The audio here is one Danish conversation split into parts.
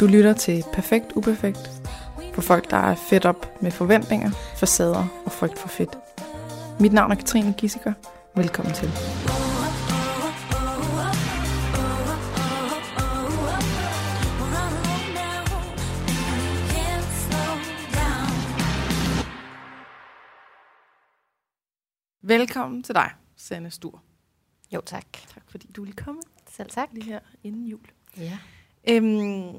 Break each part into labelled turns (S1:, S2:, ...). S1: Du lytter til Perfekt Uperfekt for folk, der er fedt op med forventninger, facader og frygt for fedt. Mit navn er Katrine Gissiker. Velkommen til. Velkommen til dig, Sanne Stur.
S2: Jo, tak.
S1: Tak fordi du vil komme
S2: Selv tak.
S1: lige her inden jul.
S2: Ja.
S1: Øhm,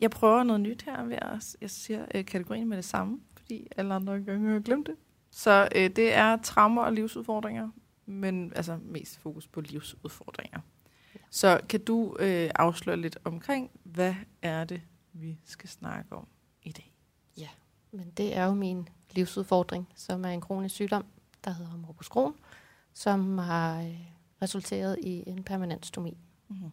S1: jeg prøver noget nyt her ved at jeg siger øh, kategorien med det samme, fordi alle andre gange har glemt det. Så øh, det er traumer og livsudfordringer, men altså mest fokus på livsudfordringer. Så kan du øh, afsløre lidt omkring, hvad er det, vi skal snakke om i dag?
S2: Men det er jo min livsudfordring, som er en kronisk sygdom, der hedder morbus Crohn, som har øh, resulteret i en permanent stomi.
S1: Mm-hmm.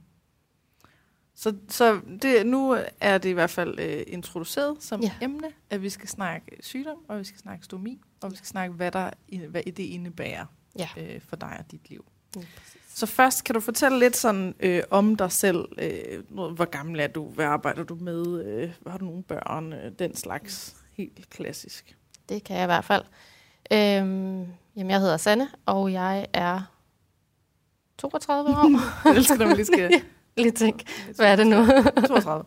S1: Så, så det, nu er det i hvert fald øh, introduceret som
S2: Ja.
S1: ja. emne, at vi skal snakke øh, sygdom, og vi skal snakke stomi, og vi
S2: Ja.
S1: skal snakke, hvad, der, hvad det indebærer
S2: Ja.
S1: øh, for dig og dit liv.
S2: Mm,
S1: Så først kan du fortælle lidt sådan øh, om dig selv. Øh, noget, hvor gammel er du? Hvad arbejder du med? Øh, har du nogle børn? Øh, den slags helt klassisk.
S2: Det kan jeg i hvert fald. Øhm, jamen, jeg hedder Sanne, og jeg er 32 år.
S1: Jeg elsker, når man lige skal...
S2: Lige tænk, hvad er det nu?
S1: 32.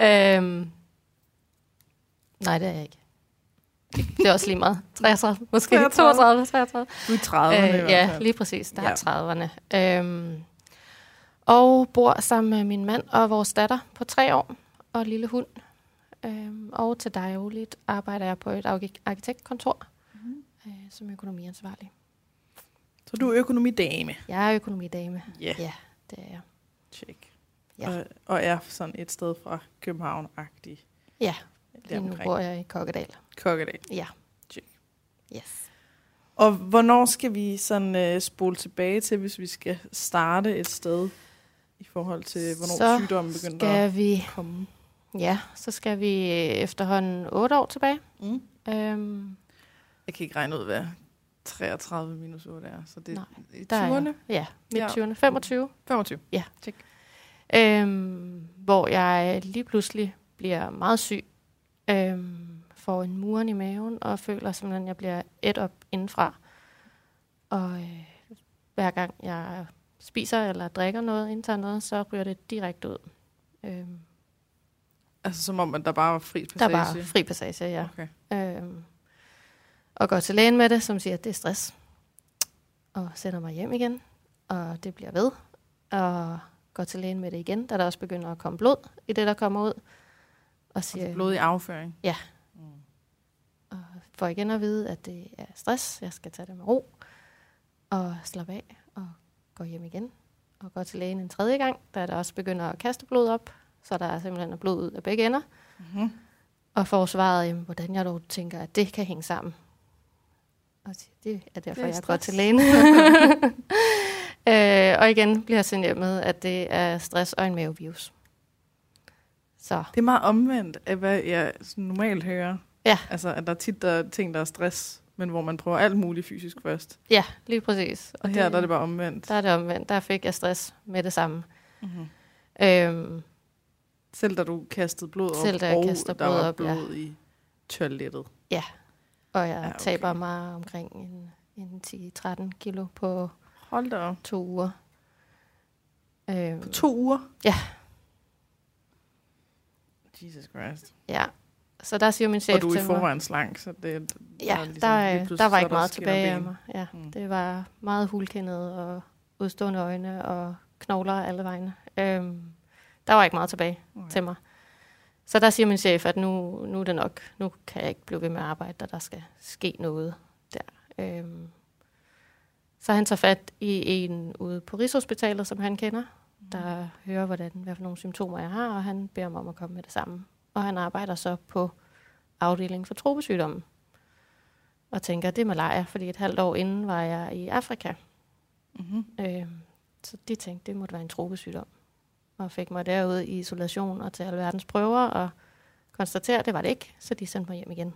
S2: øhm, nej, det er jeg ikke. Det er også lige meget. 33, måske.
S1: 33.
S2: 32, 33.
S1: Du er 30. Øh,
S2: Øh, ja, lige præcis. Der
S1: Ja.
S2: er 30'erne. Øhm, og bor sammen med min mand og vores datter på tre år og lille hund. Øhm, og til dagligt arbejder jeg på et arki- arkitektkontor
S1: Mhm.
S2: øh, som økonomiansvarlig.
S1: Så du er økonomidame.
S2: Jeg er økonomidame.
S1: Ja,
S2: Det er jeg.
S1: tjek.
S2: Ja.
S1: Og, og er sådan et sted fra København-agtig.
S2: Ja, Lige nu
S1: deromkring.
S2: bor jeg i Kokkedal.
S1: Kokkedal.
S2: Ja.
S1: Tjek.
S2: Yes.
S1: Og hvornår skal vi sådan øh, spole tilbage til, hvis vi skal starte et sted i forhold til, hvornår
S2: Så
S1: sygdommen begyndte at
S2: Skal vi,
S1: komme?
S2: ja, så skal vi efterhånden otte år tilbage.
S1: Mm.
S2: Øhm,
S1: Jeg kan ikke regne ud, hvad 33 minus 8 er. Så det er i
S2: der er jeg.
S1: 20'erne.
S2: Ja, midt
S1: Ja.
S2: 20'erne. 25.
S1: 25.
S2: Øhm, hvor jeg lige pludselig bliver meget syg, øhm, får en muren i maven og føler simpelthen, at jeg bliver et op indenfra. Og øh, hver gang jeg spiser eller drikker noget, indtager noget, så ryger det direkte ud. Øhm,
S1: Altså som om, at der bare var fri
S2: der
S1: passage.
S2: var fri passage, ja.
S1: Okay.
S2: Øhm, og går til lægen med det, som siger, at det er stress. Og sender mig hjem igen, og det bliver ved. Og går til lægen med det igen, da der også begynder at komme blod i det, der kommer ud. Og
S1: Altså
S2: siger,
S1: blodig afføring.
S2: Ja.
S1: Mm.
S2: og får igen at vide, at det er stress, jeg skal tage det med ro. Og slappe af, og går hjem igen. Og går til lægen en tredje gang, da der også begynder at kaste blod op. Så der er simpelthen blod ud af begge ender.
S1: Mm-hmm.
S2: Og får svaret, jamen, hvordan jeg dog tænker, at det kan hænge sammen. Og siger, det er derfor,
S1: Det er
S2: det er jeg går
S1: stress.
S2: til lægen. øh, og igen bliver jeg sendt hjem med, at det er stress og en mavevirus. Så
S1: Det er meget omvendt af, hvad jeg sådan normalt hører.
S2: Ja.
S1: Altså, at der er tit der er ting, der er stress, men hvor man prøver alt muligt fysisk først.
S2: ja, lige præcis.
S1: Og her der er det bare omvendt.
S2: der er det omvendt. Der fik jeg stress med det samme.
S1: Mm-hmm.
S2: Øhm,
S1: Selv da du kastede blod op,
S2: Selv da jeg
S1: og
S2: kaster
S1: der
S2: blod
S1: var
S2: op, ja.
S1: blod i toilettet.
S2: og jeg
S1: Ja,
S2: ja,
S1: okay.
S2: okay. taber mig omkring en, en 10-13 kilo på
S1: Hold da op.
S2: to uger. Øhm,
S1: På to uger?
S2: Ja.
S1: Jesus Christ.
S2: Ja, så der siger min chef
S1: og du er
S2: til
S1: i
S2: mig,
S1: forvejen slank, så det,
S2: Ja,
S1: er
S2: der,
S1: ligesom lige
S2: der, øh,
S1: pludselig,
S2: der
S1: så
S2: var
S1: er
S2: ikke meget
S1: skin og
S2: tilbage af
S1: ben.
S2: mig. Ja,
S1: Mm.
S2: mm. Det var meget hulkendet og udstående øjne og knogler alle vegne. Øhm, der var ikke meget tilbage
S1: Okay.
S2: til mig. Så der siger min chef, at nu, nu er det nok. Nu kan jeg ikke blive ved med at arbejde, og der skal ske noget der. Øhm, så han tager fat i en ude på Rigshospitalet, som han kender,
S1: Mm.
S2: der hører, hvordan, hvad for nogle symptomer jeg har, og han beder mig om at komme med det samme. Og han arbejder så på afdelingen for tropesygdomme. Og tænker, det er malaria, fordi et halvt år inden var jeg i Afrika.
S1: Mhm.
S2: Øh, så de tænkte, det måtte være en tropesygdom. Og fik mig derud i isolation og til alverdens prøver, og konstaterer, at det var det ikke, så de sendte mig hjem igen.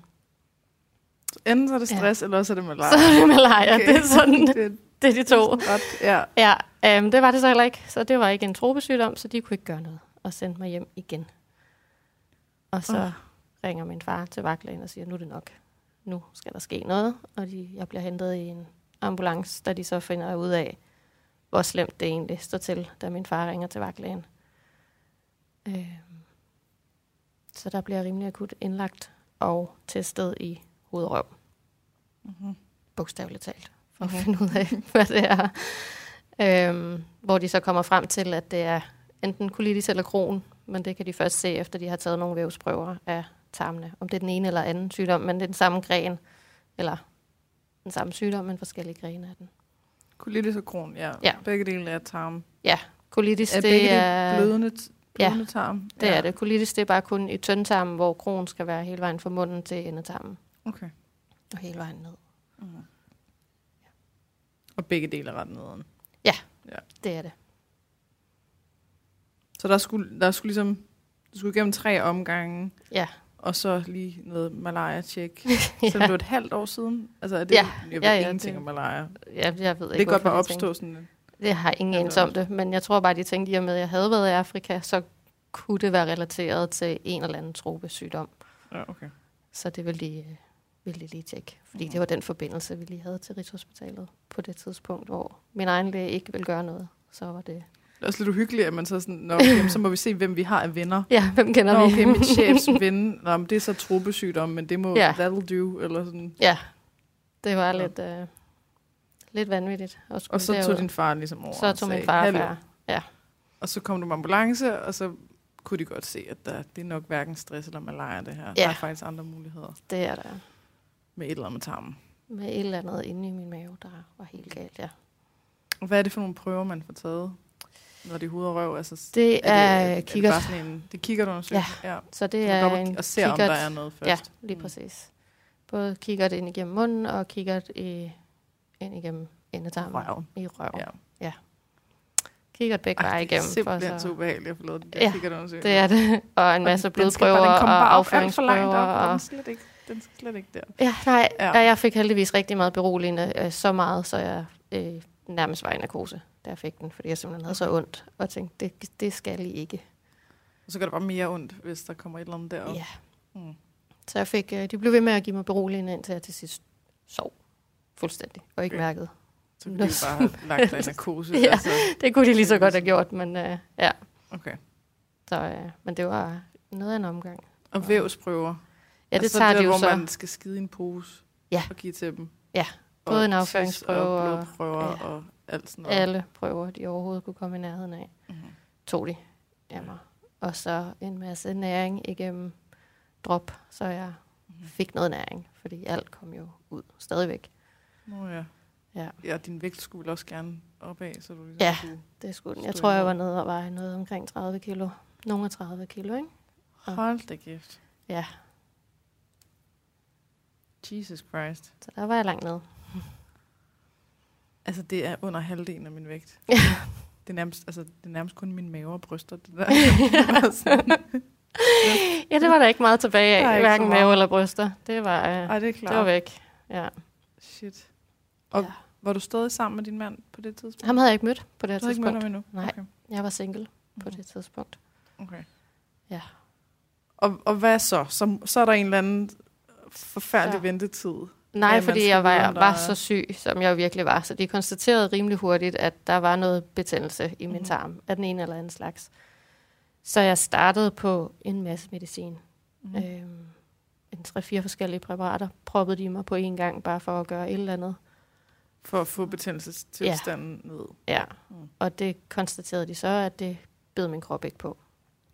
S1: Så Enten så er det
S2: Ja.
S1: stress, ja. eller også er det malaria.
S2: Så er det malaria,
S1: Okay.
S2: okay. det er sådan,
S1: det, er
S2: det er de to.
S1: sådan ret, ja.
S2: Ja, øhm, det var det så heller ikke. Så det var ikke en tropesygdom, så de kunne ikke gøre noget og sendte mig hjem igen. Og så mm. ringer min far til vagtlægen og siger, nu er det nok. Nu skal der ske noget. Og de, jeg bliver hentet i en ambulance, da de så finder ud af, hvor slemt det egentlig står til, da min far ringer til vagtlægen. Øh, så der bliver jeg rimelig akut indlagt og testet i hovedrøv.
S1: Mm-hmm.
S2: Bogstaveligt talt. For at finde ud af, hvad det er. Øhm, hvor de så kommer frem til, at det er enten colitis eller kron, men det kan de først se, efter de har taget nogle vævsprøver af tarmene. Om det er den ene eller anden sygdom, men det er den samme gren, eller den samme sygdom, men forskellige grene af den.
S1: Colitis og kron, ja.
S2: Ja.
S1: Begge dele er tarm.
S2: Colitis,
S1: Er begge
S2: det
S1: dele
S2: er...
S1: blødende, t-
S2: Ja,
S1: blødende tarm?
S2: Det er det. Colitis, det er bare kun i tyndtarmen, hvor kronen skal være hele vejen fra munden til endetarmen.
S1: Okay.
S2: Og hele vejen ned.
S1: Mhm. Og begge dele er ret nederen.
S2: Det er det.
S1: Så der skulle, der skulle ligesom, du skulle igennem tre omgange.
S2: Ja.
S1: Og så lige noget malaria-tjek. ja. Selvom det var et halvt år siden. Altså, er det,
S2: Ja.
S1: jeg ved
S2: Ja,
S1: ja,
S2: ja,
S1: ja, ingenting
S2: det-
S1: om malaria.
S2: Jeg, jeg ved
S1: Det
S2: ikke,
S1: kan godt
S2: hvorfor
S1: bare
S2: jeg tænkte-
S1: opstå sådan en...
S2: Det har jeg ingen
S1: Jeg ved
S2: anelse om det, men jeg tror bare, de tænkte, i og med, at jeg havde været i Afrika, så kunne det være relateret til en eller anden tropesygdom.
S1: Ja, okay.
S2: Så det ville de, øh, ville de lige tjekke. Fordi
S1: Mhm.
S2: det var den forbindelse, vi lige havde til Rigshospitalet på det tidspunkt, hvor min egen læge ikke ville gøre noget. Så var det...
S1: Det er også lidt uhyggeligt, at man så er sådan, Nå, okay, så må vi se, hvem vi har af venner.
S2: Ja, hvem kender
S1: Nå,
S2: vi?
S1: okay, min chefs ven, Nå, men det er så tropesygdom, men det må,
S2: Ja.
S1: yeah. that'll do, eller sådan.
S2: Ja, det var
S1: Nå.
S2: lidt, øh, lidt vanvittigt. At skulle
S1: Og så
S2: derud.
S1: tog din far ligesom over.
S2: så
S1: og
S2: tog min
S1: sagde,
S2: far
S1: "Hallo."
S2: færre.
S1: Og så kom du med ambulance, og så kunne de godt se, at der, det er nok hverken stress eller malaria, det her. Yeah. Der
S2: Ja.
S1: er faktisk andre muligheder
S2: Det er der.
S1: med et eller andet med tarmen.
S2: Med et eller andet inde i min mave, der var helt galt, ja.
S1: Og hvad er det for nogle prøver, man får taget, når det er hud og røv? Altså,
S2: Det er, er
S1: det,
S2: kikkert.
S1: Er det, bare sådan en, det kigger du undersøgelse? Ja. ja.
S2: så
S1: Det
S2: det
S1: er
S2: er
S1: man går op
S2: en
S1: og- og ser, om der
S2: kikkert.
S1: er noget
S2: Ja,
S1: først.
S2: lige
S1: Mm.
S2: præcis. Både kigger det ind igennem munden, og kigger det i, ind igennem endetarmen
S1: Wow.
S2: i røven.
S1: Ja.
S2: Ja. Kigger begge veje igennem.
S1: Det er simpelthen
S2: for
S1: så
S2: så,
S1: ubehageligt at få lavet den der
S2: Ja,
S1: kikkertundersøgelse.
S2: det er det. Og
S1: Og
S2: en masse
S1: den- den skal bare-
S2: blodprøver
S1: den kommer bare
S2: og
S1: op alt for langt
S2: afføringsprøver.
S1: op, og Den
S2: Og,
S1: skal slet ikke, den skal slet ikke der.
S2: ja, nej,
S1: Ja.
S2: ja. jeg fik heldigvis rigtig meget beroligende. Øh, så meget, så jeg øh, nærmest var i narkose, da jeg fik den. Fordi jeg simpelthen havde så ondt. Og tænkte, det, det skal I ikke.
S1: Og så gør det bare mere ondt, hvis der kommer et eller andet derop.
S2: Ja.
S1: Mm.
S2: Så jeg fik, øh, de blev ved med at give mig beroligende, indtil jeg til sidst sov fuldstændig. Og ikke
S1: Okay.
S2: mærkede
S1: Så kan
S2: Nå,
S1: de jo bare have lagt dig i narkose.
S2: Ja.
S1: altså.
S2: Det kunne de lige så godt have gjort, men øh, ja.
S1: Okay.
S2: Så, øh, men det var noget af en omgang.
S1: Og vævsprøver.
S2: Ja, det
S1: altså,
S2: altså, tager
S1: det
S2: det, de jo
S1: hvor
S2: så.
S1: man skal skide i en pose
S2: Ja.
S1: og give til dem.
S2: Ja. Både
S1: Og
S2: en
S1: tis
S2: afføringsprøve
S1: Og
S2: og-
S1: blodprøver og,
S2: ja.
S1: og alt sådan noget.
S2: Alle prøver, de overhovedet kunne komme i nærheden af,
S1: Mhm.
S2: tog de af mig. Og så en masse næring igennem drop, så jeg
S1: Mhm.
S2: fik noget næring, fordi alt kom jo ud stadigvæk.
S1: Nå ja.
S2: Ja.
S1: ja, din vægt skulle vel også gerne opad, så du ligesom
S2: Ja.
S1: kunne
S2: Det skulle den.
S1: Stod
S2: Jeg tror, jeg
S1: imod.
S2: var nede og veje noget omkring 30 kilo. Nogle af 30 kilo, ikke? Og-
S1: Hold da kæft.
S2: Ja.
S1: Jesus Christ.
S2: Så der var jeg langt nede.
S1: Altså, det er under halvdelen af min vægt.
S2: Ja.
S1: Det er nærmest, altså, det er nærmest kun min mave og bryster, det der. Sådan.
S2: Ja, det var der ikke meget tilbage
S1: Der er
S2: af,
S1: ikke så
S2: hverken
S1: meget.
S2: mave eller bryster. Det var, øh,
S1: Ej, det er
S2: det var
S1: klart.
S2: væk. Ja.
S1: Shit. Og
S2: ja.
S1: Var du stadig sammen med din mand på det tidspunkt?
S2: Ham havde jeg ikke mødt på det her
S1: du havde ikke mødt
S2: tidspunkt.
S1: ham Mhm. endnu?
S2: Nej.
S1: Okay.
S2: Jeg var single på det tidspunkt.
S1: okay.
S2: Ja.
S1: Og, og hvad så? så? Så er der en eller anden forfærdelig
S2: Så.
S1: ventetid.
S2: Nej,
S1: man
S2: ja,
S1: skal
S2: fordi jeg var,
S1: vide, om der
S2: var
S1: er-
S2: så syg, som jeg virkelig var. Så de konstaterede rimelig hurtigt, at der var noget betændelse i min
S1: Mhm.
S2: tarm af den ene eller anden slags. Så jeg startede på en masse medicin. Mm.
S1: Mm.
S2: Øhm, en 3-4 forskellige præparater proppede de mig på en gang, bare for at gøre et eller andet.
S1: For at få betændelsestilstanden ja. ned.
S2: Ja.
S1: Mm.
S2: Mm. Og det konstaterede de så, at det bed min krop ikke på.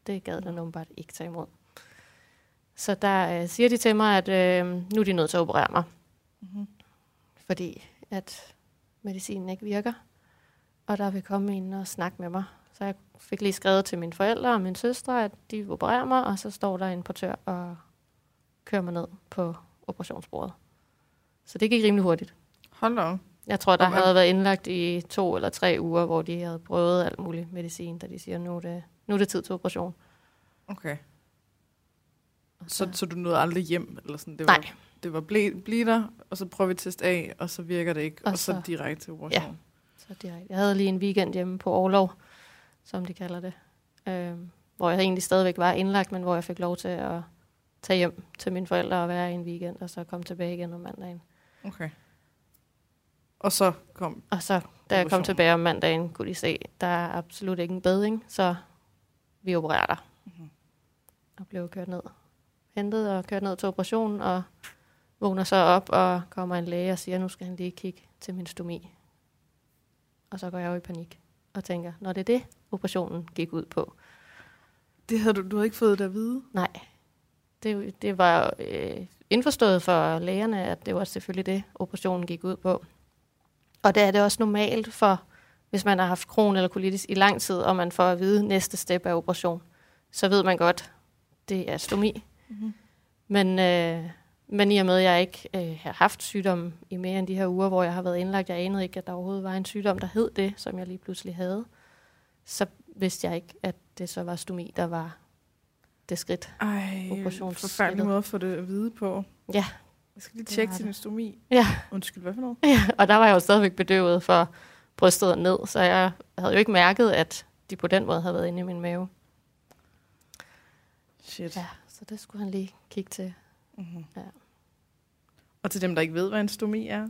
S2: Det gad den åbenbart ikke tage imod. Så der øh, siger de til mig, at øh, nu er de nødt til at operere mig.
S1: Mm-hmm.
S2: fordi at medicinen ikke virker, og der vil komme en og snakke med mig. Så jeg fik lige skrevet til mine forældre og min søstre, at de opererer mig, og så står der en portør og kører mig ned på operationsbordet. Så det gik rimelig hurtigt.
S1: Hold da op.
S2: Jeg tror, der
S1: Og hvad-
S2: havde været indlagt i to eller tre uger, hvor de havde prøvet alt muligt medicin, da de siger, nu er det, nu er det tid til operation.
S1: Okay.
S2: Og
S1: Så, så du nåede aldrig hjem? Eller sådan. Det var,
S2: Nej,
S1: Det var ble, blive der, og så prøver vi at teste af, og så virker det ikke, og,
S2: Og
S1: og så,
S2: så-
S1: direkte til operation.
S2: Så direkte. Jeg havde lige en weekend hjemme på overlov, som de kalder det. Øhm, hvor jeg egentlig stadigvæk var indlagt, men hvor jeg fik lov til at tage hjem til mine forældre og være i en weekend, og så komme tilbage igen om mandagen.
S1: Okay. Og så kom...
S2: Og så, da jeg kom
S1: Operationen.
S2: tilbage om mandagen, kunne de se, der er absolut ikke en bedring, så vi opererer dig.
S1: Mhm.
S2: Og blev kørt ned. Hentet og kørt ned til operationen, og vågner så op, og kommer en læge og siger, nu skal han lige kigge til min stomi. Og så går jeg jo i panik og tænker, når det er det, operationen gik ud på.
S1: Det havde du, du havde ikke fået det at vide.
S2: Nej, det, det var øh, indforstået for lægerne, at det var selvfølgelig det, operationen gik ud på. Og der er det også normalt for, hvis man har haft kron eller colitis i lang tid, og man får at vide, næste step er operation, så ved man godt, det er stomi.
S1: Mm-hmm.
S2: Men, øh, men i og med, at jeg ikke øh, har haft sygdom i mere end de her uger, hvor jeg har været indlagt, jeg anede ikke, at der overhovedet var en sygdom, der hed det, som jeg lige pludselig havde, så vidste jeg ikke, at det så var stomi, der var det skridt,
S1: Ej,
S2: Operationsskridtet.
S1: forfærdelig måde at få det at vide på.
S2: Ja.
S1: Jeg skal lige
S2: Det
S1: tjekke
S2: var
S1: sin
S2: det.
S1: østomi.
S2: Ja.
S1: Undskyld, hvad for noget?
S2: Ja, og der var jeg jo stadigvæk bedøvet for brystet og ned, så jeg havde jo ikke mærket, at de på den måde havde været inde i min mave.
S1: Shit.
S2: Ja, så det skulle han lige kigge til.
S1: Mm-hmm.
S2: Ja.
S1: Og til dem, der ikke ved, hvad en stomi er,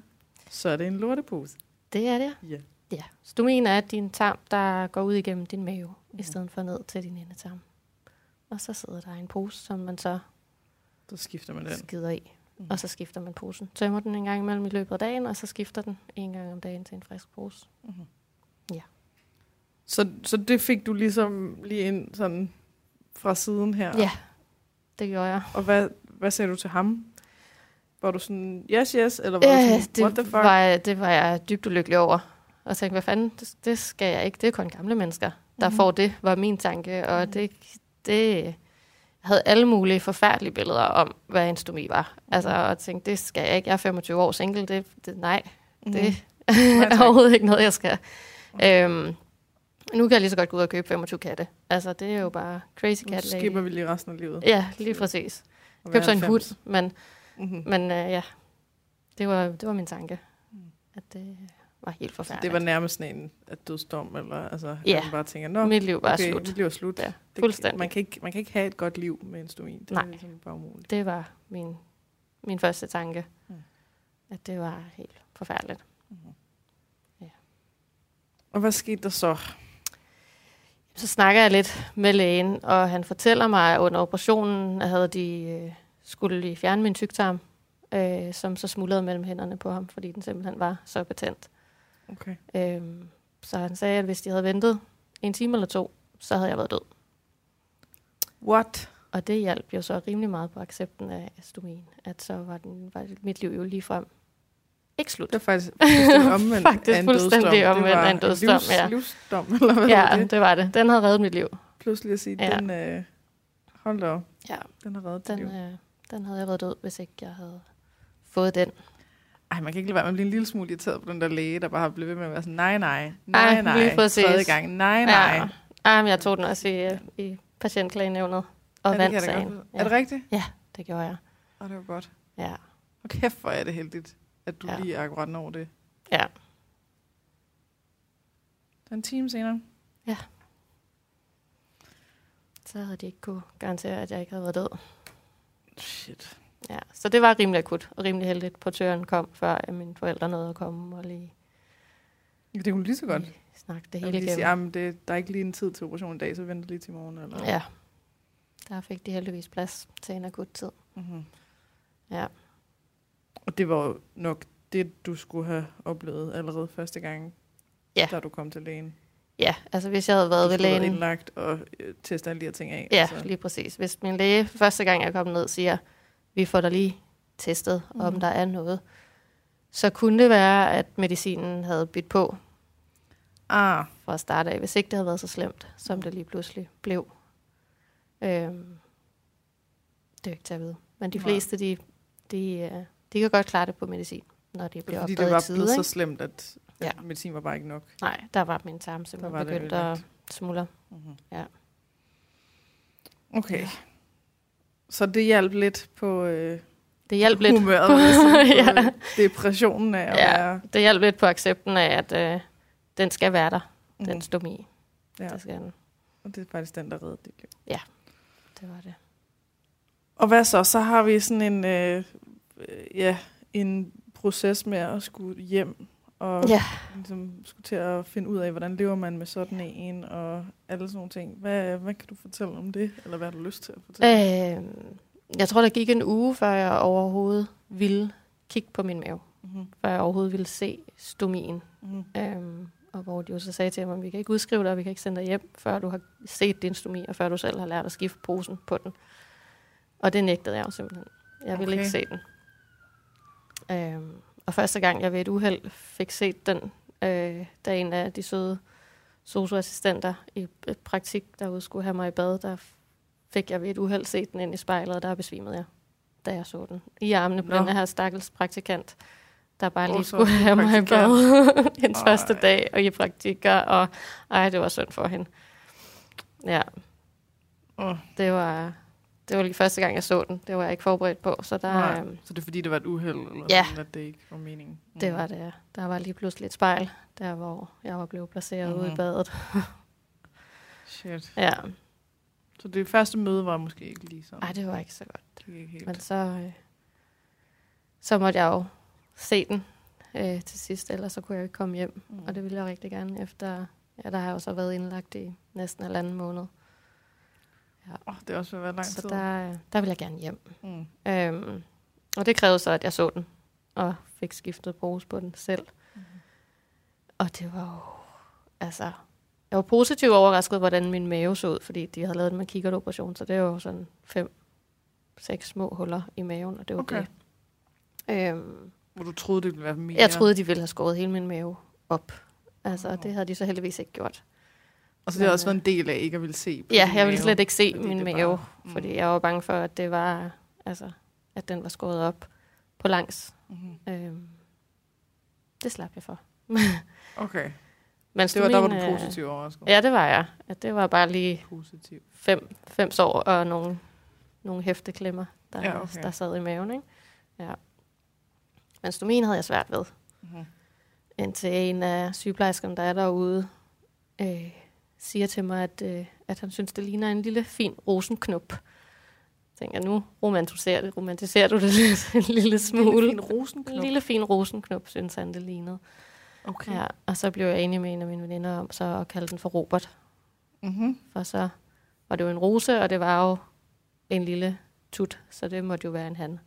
S1: så er det en lortepose.
S2: Det er det.
S1: Ja.
S2: Ja. Stomien er din tarm, der går ud igennem din mave, mm.
S1: Mhm.
S2: i stedet for ned til din endetarm. Og så sidder der en pose, som man så
S1: Så skifter man den.
S2: skider i.
S1: Mhm.
S2: Mm-hmm. Og så skifter man posen. Tømmer den en gang imellem i løbet af dagen, og så skifter den en gang om dagen til en frisk pose.
S1: Mhm.
S2: Ja.
S1: Så, så det fik du ligesom lige ind sådan fra siden her.
S2: Ja. Det gjorde jeg.
S1: Og hvad, hvad sagde du til ham? Var du sådan, yes, yes, eller var øh, du sådan,
S2: det,
S1: what the fuck? Var...
S2: Var, det var jeg dybt ulykkelig over. Og tænkte, hvad fanden, det, det skal jeg ikke. Det er kun gamle mennesker, der
S1: Mhm.
S2: mm. får det, var min tanke. Og
S1: Mhm.
S2: det, det jeg havde alle mulige forfærdelige billeder om, hvad en stomi var. Altså,
S1: Mhm.
S2: og tænkte, det skal jeg ikke. Jeg er 25 år single. Det, det, nej, mm. det
S1: Mhm. tak.
S2: er overhovedet ikke noget, jeg skal. Øhm, nu kan jeg lige så godt gå ud og købe 25 katte. Altså, det er jo bare crazy
S1: Nu
S2: cat lady.
S1: skipper vi lige resten af livet.
S2: Ja, lige præcis.
S1: og
S2: Køb så en
S1: være
S2: hund, men
S1: 90. Mhm.
S2: men øh, ja, det var, det var min tanke.
S1: Mm.
S2: At det var helt
S1: Så
S2: forfærdeligt.
S1: det var nærmest sådan en at dødsdom, eller altså,
S2: Ja.
S1: at man bare tænker, nå,
S2: Mit liv var
S1: okay,
S2: slut.
S1: mit liv er slut.
S2: Ja,
S1: Det-
S2: fuldstændig.
S1: Man kan, ikke, man kan ikke have et godt liv med en stomin. Det Nej.
S2: Nej.
S1: er ligesom bare umuligt.
S2: Det var min, min første tanke.
S1: Mm.
S2: At det var helt forfærdeligt.
S1: Mhm.
S2: Ja.
S1: Og hvad skete der så?
S2: Så snakker jeg lidt med lægen, og han fortæller mig, at under operationen havde de øh, skulle de fjerne min tyktarm, øh, som så smuldrede mellem hænderne på ham, fordi den simpelthen var så betændt.
S1: Okay.
S2: Øh, så han sagde, at hvis de havde ventet en time eller to, så havde jeg været død.
S1: What?
S2: Og det hjalp jo så rimelig meget på accepten af astomien, at så var, den, var mit liv jo lige frem ikke slut.
S1: Det var faktisk fuldstændig omvendt
S2: Faktisk
S1: af en dødsdom.
S2: fuldstændig omvendt
S1: det var
S2: af en dødsdom,
S1: livs,
S2: ja.
S1: livsdom, eller hvad ja, var
S2: Ja,
S1: det?
S2: det var det. Den havde reddet mit liv.
S1: Pludselig at sige,
S2: Ja.
S1: den, øh, hold da op,
S2: Ja,
S1: den har reddet den,
S2: den,
S1: liv.
S2: øh, den havde jeg været død, hvis ikke jeg havde fået den.
S1: Ej, man kan ikke lade være med at blive en lille smule irriteret på den der læge, der bare har blevet ved med at være sådan, nej, nej,
S2: Ej,
S1: nej,
S2: lige
S1: nej,
S2: præcis.
S1: tredje gang, nej, nej.
S2: Ja. Ej, men jeg tog den også i, øh, i patientklagenævnet og
S1: Ja, det kan
S2: vandt
S1: jeg da
S2: sagen.
S1: godt vide.
S2: Ja,
S1: Er det rigtigt?
S2: det gjorde jeg.
S1: Åh, det var godt.
S2: Ja.
S1: Og kæft, hvor er det heldigt, at du
S2: Ja.
S1: lige akkurat når det.
S2: Ja.
S1: Så en time senere.
S2: Så havde de ikke kunne garantere, at jeg ikke havde været død.
S1: Shit.
S2: Ja, så det var rimelig akut og rimelig heldigt. Portøren kom, før at mine forældre nåede at komme og lige
S1: Det kunne lige så godt.
S2: lige snakke det
S1: Jeg
S2: hele
S1: vil lige
S2: igennem.
S1: sige, jamen, det, der er ikke lige en tid til operation i dag, så venter lige til i morgen. Eller?
S2: Ja. Der fik de heldigvis plads til en akut tid.
S1: Mm-hmm.
S2: Ja.
S1: Og det var jo nok det, du skulle have oplevet allerede første gang,
S2: Ja.
S1: da du kom til lægen.
S2: Ja, altså hvis jeg havde været
S1: du
S2: ved
S1: skulle have været
S2: lægen...
S1: indlagt og øh, testet alle de her ting af.
S2: Ja,
S1: altså.
S2: lige præcis. Hvis min læge første gang, jeg kom ned, siger, vi får dig lige testet, mm. om
S1: Mhm.
S2: der er noget, så kunne det være, at medicinen havde bidt på
S1: Ah,
S2: fra start af, hvis ikke det havde været så slemt, som det lige pludselig blev. Øhm, det er jo ikke til at vide. Men de
S1: Nej.
S2: fleste, de, de, øh, de kan godt klare det på medicin, når det
S1: det
S2: bliver
S1: var fordi
S2: opdaget
S1: det var
S2: i tide.
S1: blevet
S2: ikke?
S1: så slemt, at, at
S2: Ja.
S1: medicin var bare ikke nok.
S2: Nej, der var min tarm
S1: Der var
S2: simpelthen
S1: det
S2: begyndt at
S1: ødelagt.
S2: smuldre.
S1: Mm-hmm.
S2: Ja.
S1: Okay. Så det hjalp lidt på øh,
S2: Det hjalp lidt.
S1: humøret, vil jeg sige,
S2: Ja.
S1: på, øh, depressionen af at
S2: Ja.
S1: være...
S2: Det hjalp lidt på accepten af, at øh, den skal være der, mm. den stomi.
S1: Ja.
S2: Det skal den.
S1: Og det er faktisk den, der redder dit liv.
S2: Det var det.
S1: Og hvad så? Så har vi sådan en, øh, øh, ja, en proces med at skulle hjem og
S2: Ja.
S1: ligesom, skulle til at finde ud af, hvordan lever man med sådan en og alle sådan nogle ting. Hvad, hvad kan du fortælle om det? Eller hvad har du lyst til at fortælle?
S2: Øh, jeg tror, der gik en uge, før jeg overhovedet ville kigge på min mave.
S1: Mm-hmm.
S2: Før jeg overhovedet ville se stomien.
S1: Mm-hmm.
S2: Øhm, og hvor de jo så sagde til mig, at vi kan ikke udskrive dig, og vi kan ikke sende dig hjem, før du har set din stomi, og før du selv har lært at skifte posen på den. Og det nægtede jeg jo simpelthen. Jeg ville
S1: Okay.
S2: okay. ikke se den. Øhm, og første gang, jeg ved et uheld fik set den, øh, da en af de søde socioassistenter i p- praktik derude skulle have mig i bad, der f- fik jeg ved et uheld set den ind i spejlet, og der besvimede jeg, da jeg så den. I armene på
S1: Nå.
S2: den her stakkels praktikant, der bare
S1: Åh,
S2: lige
S1: så
S2: skulle
S1: er du
S2: have mig i
S1: praktikant.
S2: bad hendes
S1: Ej.
S2: første dag og i praktikker, og ej, det var synd for hende. Ja,
S1: Oh,
S2: det var, det var lige første gang, jeg så den. Det var jeg ikke forberedt på, så der,
S1: Nej. Mm.
S2: øhm,
S1: så det er fordi, det var et uheld, eller
S2: Ja.
S1: sådan, at det ikke var meningen? Mm.
S2: det var det. ja. Der var lige pludselig et spejl, der hvor jeg var blevet placeret ude
S1: Mhm.
S2: i badet.
S1: Shit.
S2: Ja,
S1: Så det første møde var måske ikke lige sådan.
S2: ej, det var ikke så godt.
S1: det gik ikke helt.
S2: Men så, øh, så måtte jeg jo se den øh, til sidst, ellers så kunne jeg jo ikke komme hjem.
S1: Mm.
S2: Og det ville jeg rigtig gerne efter, ja, der har jeg jo så været indlagt i næsten halvanden måned.
S1: Åh, det er også ved at være lang
S2: Så
S1: tid.
S2: der, øh, der vil jeg gerne hjem.
S1: Mm.
S2: Øhm, og det krævede så, at jeg så den, og fik skiftet pose på den selv.
S1: Mhm.
S2: Og det var jo, altså, jeg var positivt overrasket, hvordan min mave så ud, fordi de havde lavet en mankikkertoperation, så det var jo sådan fem, seks små huller i maven, og det var
S1: Okay.
S2: okay. det. Øhm,
S1: Hvor du troede, det ville være mere.
S2: jeg troede, de ville have skåret hele min mave op. Altså,
S1: Wow.
S2: og det havde de så heldigvis ikke gjort.
S1: Og så det har
S2: Men,
S1: også været en del af ikke at ville se på
S2: Ja,
S1: din
S2: jeg ville
S1: mave,
S2: slet ikke se
S1: fordi
S2: min
S1: det
S2: mave.
S1: bare- mm.
S2: Fordi jeg var bange for, at det var, altså, at den var skåret op på langs.
S1: Mhm.
S2: Øhm, det slap jeg for.
S1: Okay,
S2: Men
S1: det var, der var
S2: stomien,
S1: du
S2: øh,
S1: positiv overrasket.
S2: Ja, det var jeg. At det var bare lige
S1: Positiv.
S2: fem, fem sår og nogle, nogle hæfteklemmer, der,
S1: Ja,
S2: ja,
S1: okay.
S2: okay. der sad i maven. Ikke? Ja. Men stomien havde jeg svært ved.
S1: Mhm.
S2: Indtil en af sygeplejerskerne, der er derude, øh, siger til mig, at, øh, at han synes, det ligner en lille fin rosenknop. Jeg tænker, nu romantiserer, det, romantiserer du det lidt, en lille smule.
S1: En rosenknop.
S2: En lille fin rosenknop, synes han, det lignede.
S1: Okay.
S2: Ja, og så blev jeg enig med en af mine veninder om så at kalde den for Robert.
S1: Mm-hmm.
S2: For så var det jo en rose, og det var jo en lille tut, så det måtte jo være en han.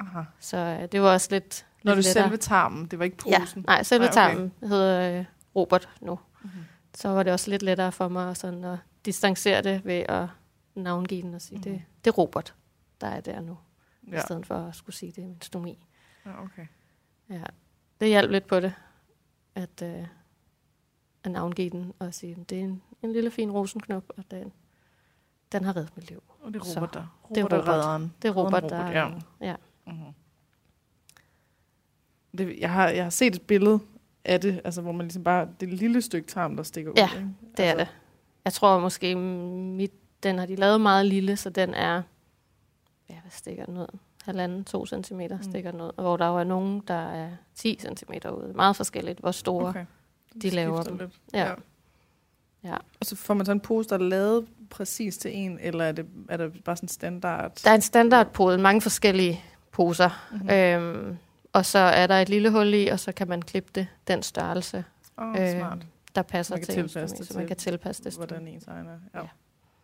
S1: Aha.
S2: Så øh, det var også lidt,
S1: Når
S2: lidt
S1: du
S2: lettere.
S1: selve tarmen, det var ikke
S2: Ja,
S1: posen.
S2: nej, selve
S1: Nej, okay.
S2: tarmen hedder øh, Robert nu.
S1: Mhm.
S2: Så var det også lidt lettere for mig sådan at distancere det ved at navngive den og sige,
S1: Mhm.
S2: det, det er Robert, der er der nu, ja. i
S1: Ja.
S2: stedet for at skulle sige, det er min stomi.
S1: ja, okay.
S2: Ja. Det hjalp lidt på det, at, øh, at navngive den og sige, det er en, en lille fin rosenknop, og den, den har reddet mit liv.
S1: Og det er
S2: Så,
S1: Robert, der. Robert
S2: det er
S1: der
S2: Robert.
S1: redderen.
S2: Det er Robert,
S1: Redderen
S2: der...
S1: ja.
S2: ja.
S1: Mm-hmm. Det, jeg, har, jeg har set et billede af det, altså, hvor man ligesom bare, det lille stykke tarm, der stikker
S2: Ja,
S1: ud. ikke?
S2: Det er
S1: altså,
S2: det. Jeg tror måske, mit, den har de lavet meget lille, så den er, ja, hvad stikker den ud? Halvanden, to centimeter
S1: Mm.
S2: stikker den ud. Og hvor der jo er nogen, der er 10 centimeter ude. Meget forskelligt, hvor store. Okay.
S1: Okay.
S2: de laver
S1: skifter
S2: dem.
S1: Lidt.
S2: Ja. Ja.
S1: Og så får man sådan en pose, der er lavet præcis til en, eller er det, er det bare sådan standard?
S2: Der er en standardpode, mange forskellige poser.
S1: Mhm.
S2: Mm. Øhm, og så er der et lille hul i, og så kan man klippe det, den størrelse,
S1: Åh, oh,
S2: øh,
S1: smart.
S2: der passer
S1: Man kan
S2: til
S1: tilpasse
S2: instrumentet,
S1: det
S2: så man
S1: til,
S2: kan tilpasse det.
S1: Hvordan ens egen er. Ja.
S2: Ja.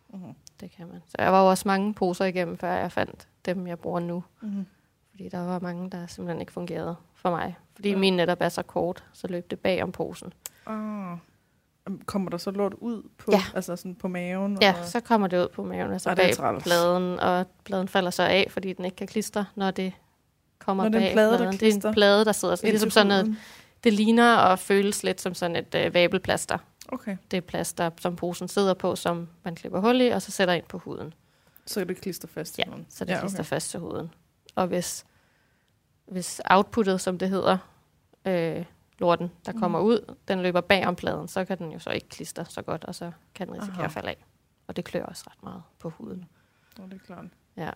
S1: Mhm.
S2: Det kan man. Så jeg var jo også mange poser igennem, før jeg fandt dem, jeg bruger nu.
S1: Mhm.
S2: Fordi der var mange, der simpelthen ikke fungerede for mig. Fordi
S1: Ja.
S2: ja. min netop er så kort, så løb det bag om posen.
S1: Ah. Jamen, Kommer der så lort ud på,
S2: Ja.
S1: altså sådan på maven?
S2: Ja,
S1: og,
S2: så kommer det ud på maven, altså
S1: Ej, det er
S2: bag
S1: træls.
S2: pladen, og pladen falder så af, fordi den ikke kan klistre, når det kommer
S1: Når det er en
S2: bag
S1: plade, der
S2: pladen. Det er
S1: klistrer
S2: en plade, der sidder sådan,
S1: ind
S2: ligesom
S1: til
S2: sådan noget.
S1: huden.
S2: Det ligner og føles lidt som sådan et øh, vabelplaster.
S1: Okay,
S2: Det er plaster, som posen sidder på, som man klipper hul i, og så sætter ind på huden.
S1: så er det klister fast til
S2: Ja,
S1: huden.
S2: så det ja, klister
S1: okay.
S2: fast til huden. Og hvis, hvis outputtet, som det hedder, øh, lorten, der
S1: Mhm.
S2: kommer ud, den løber bag om pladen, så kan den jo så ikke klistre så godt, og så kan den risikere
S1: Aha.
S2: at falde af. Og det klør også ret meget på huden.
S1: Nå, det er klart.
S2: Ja.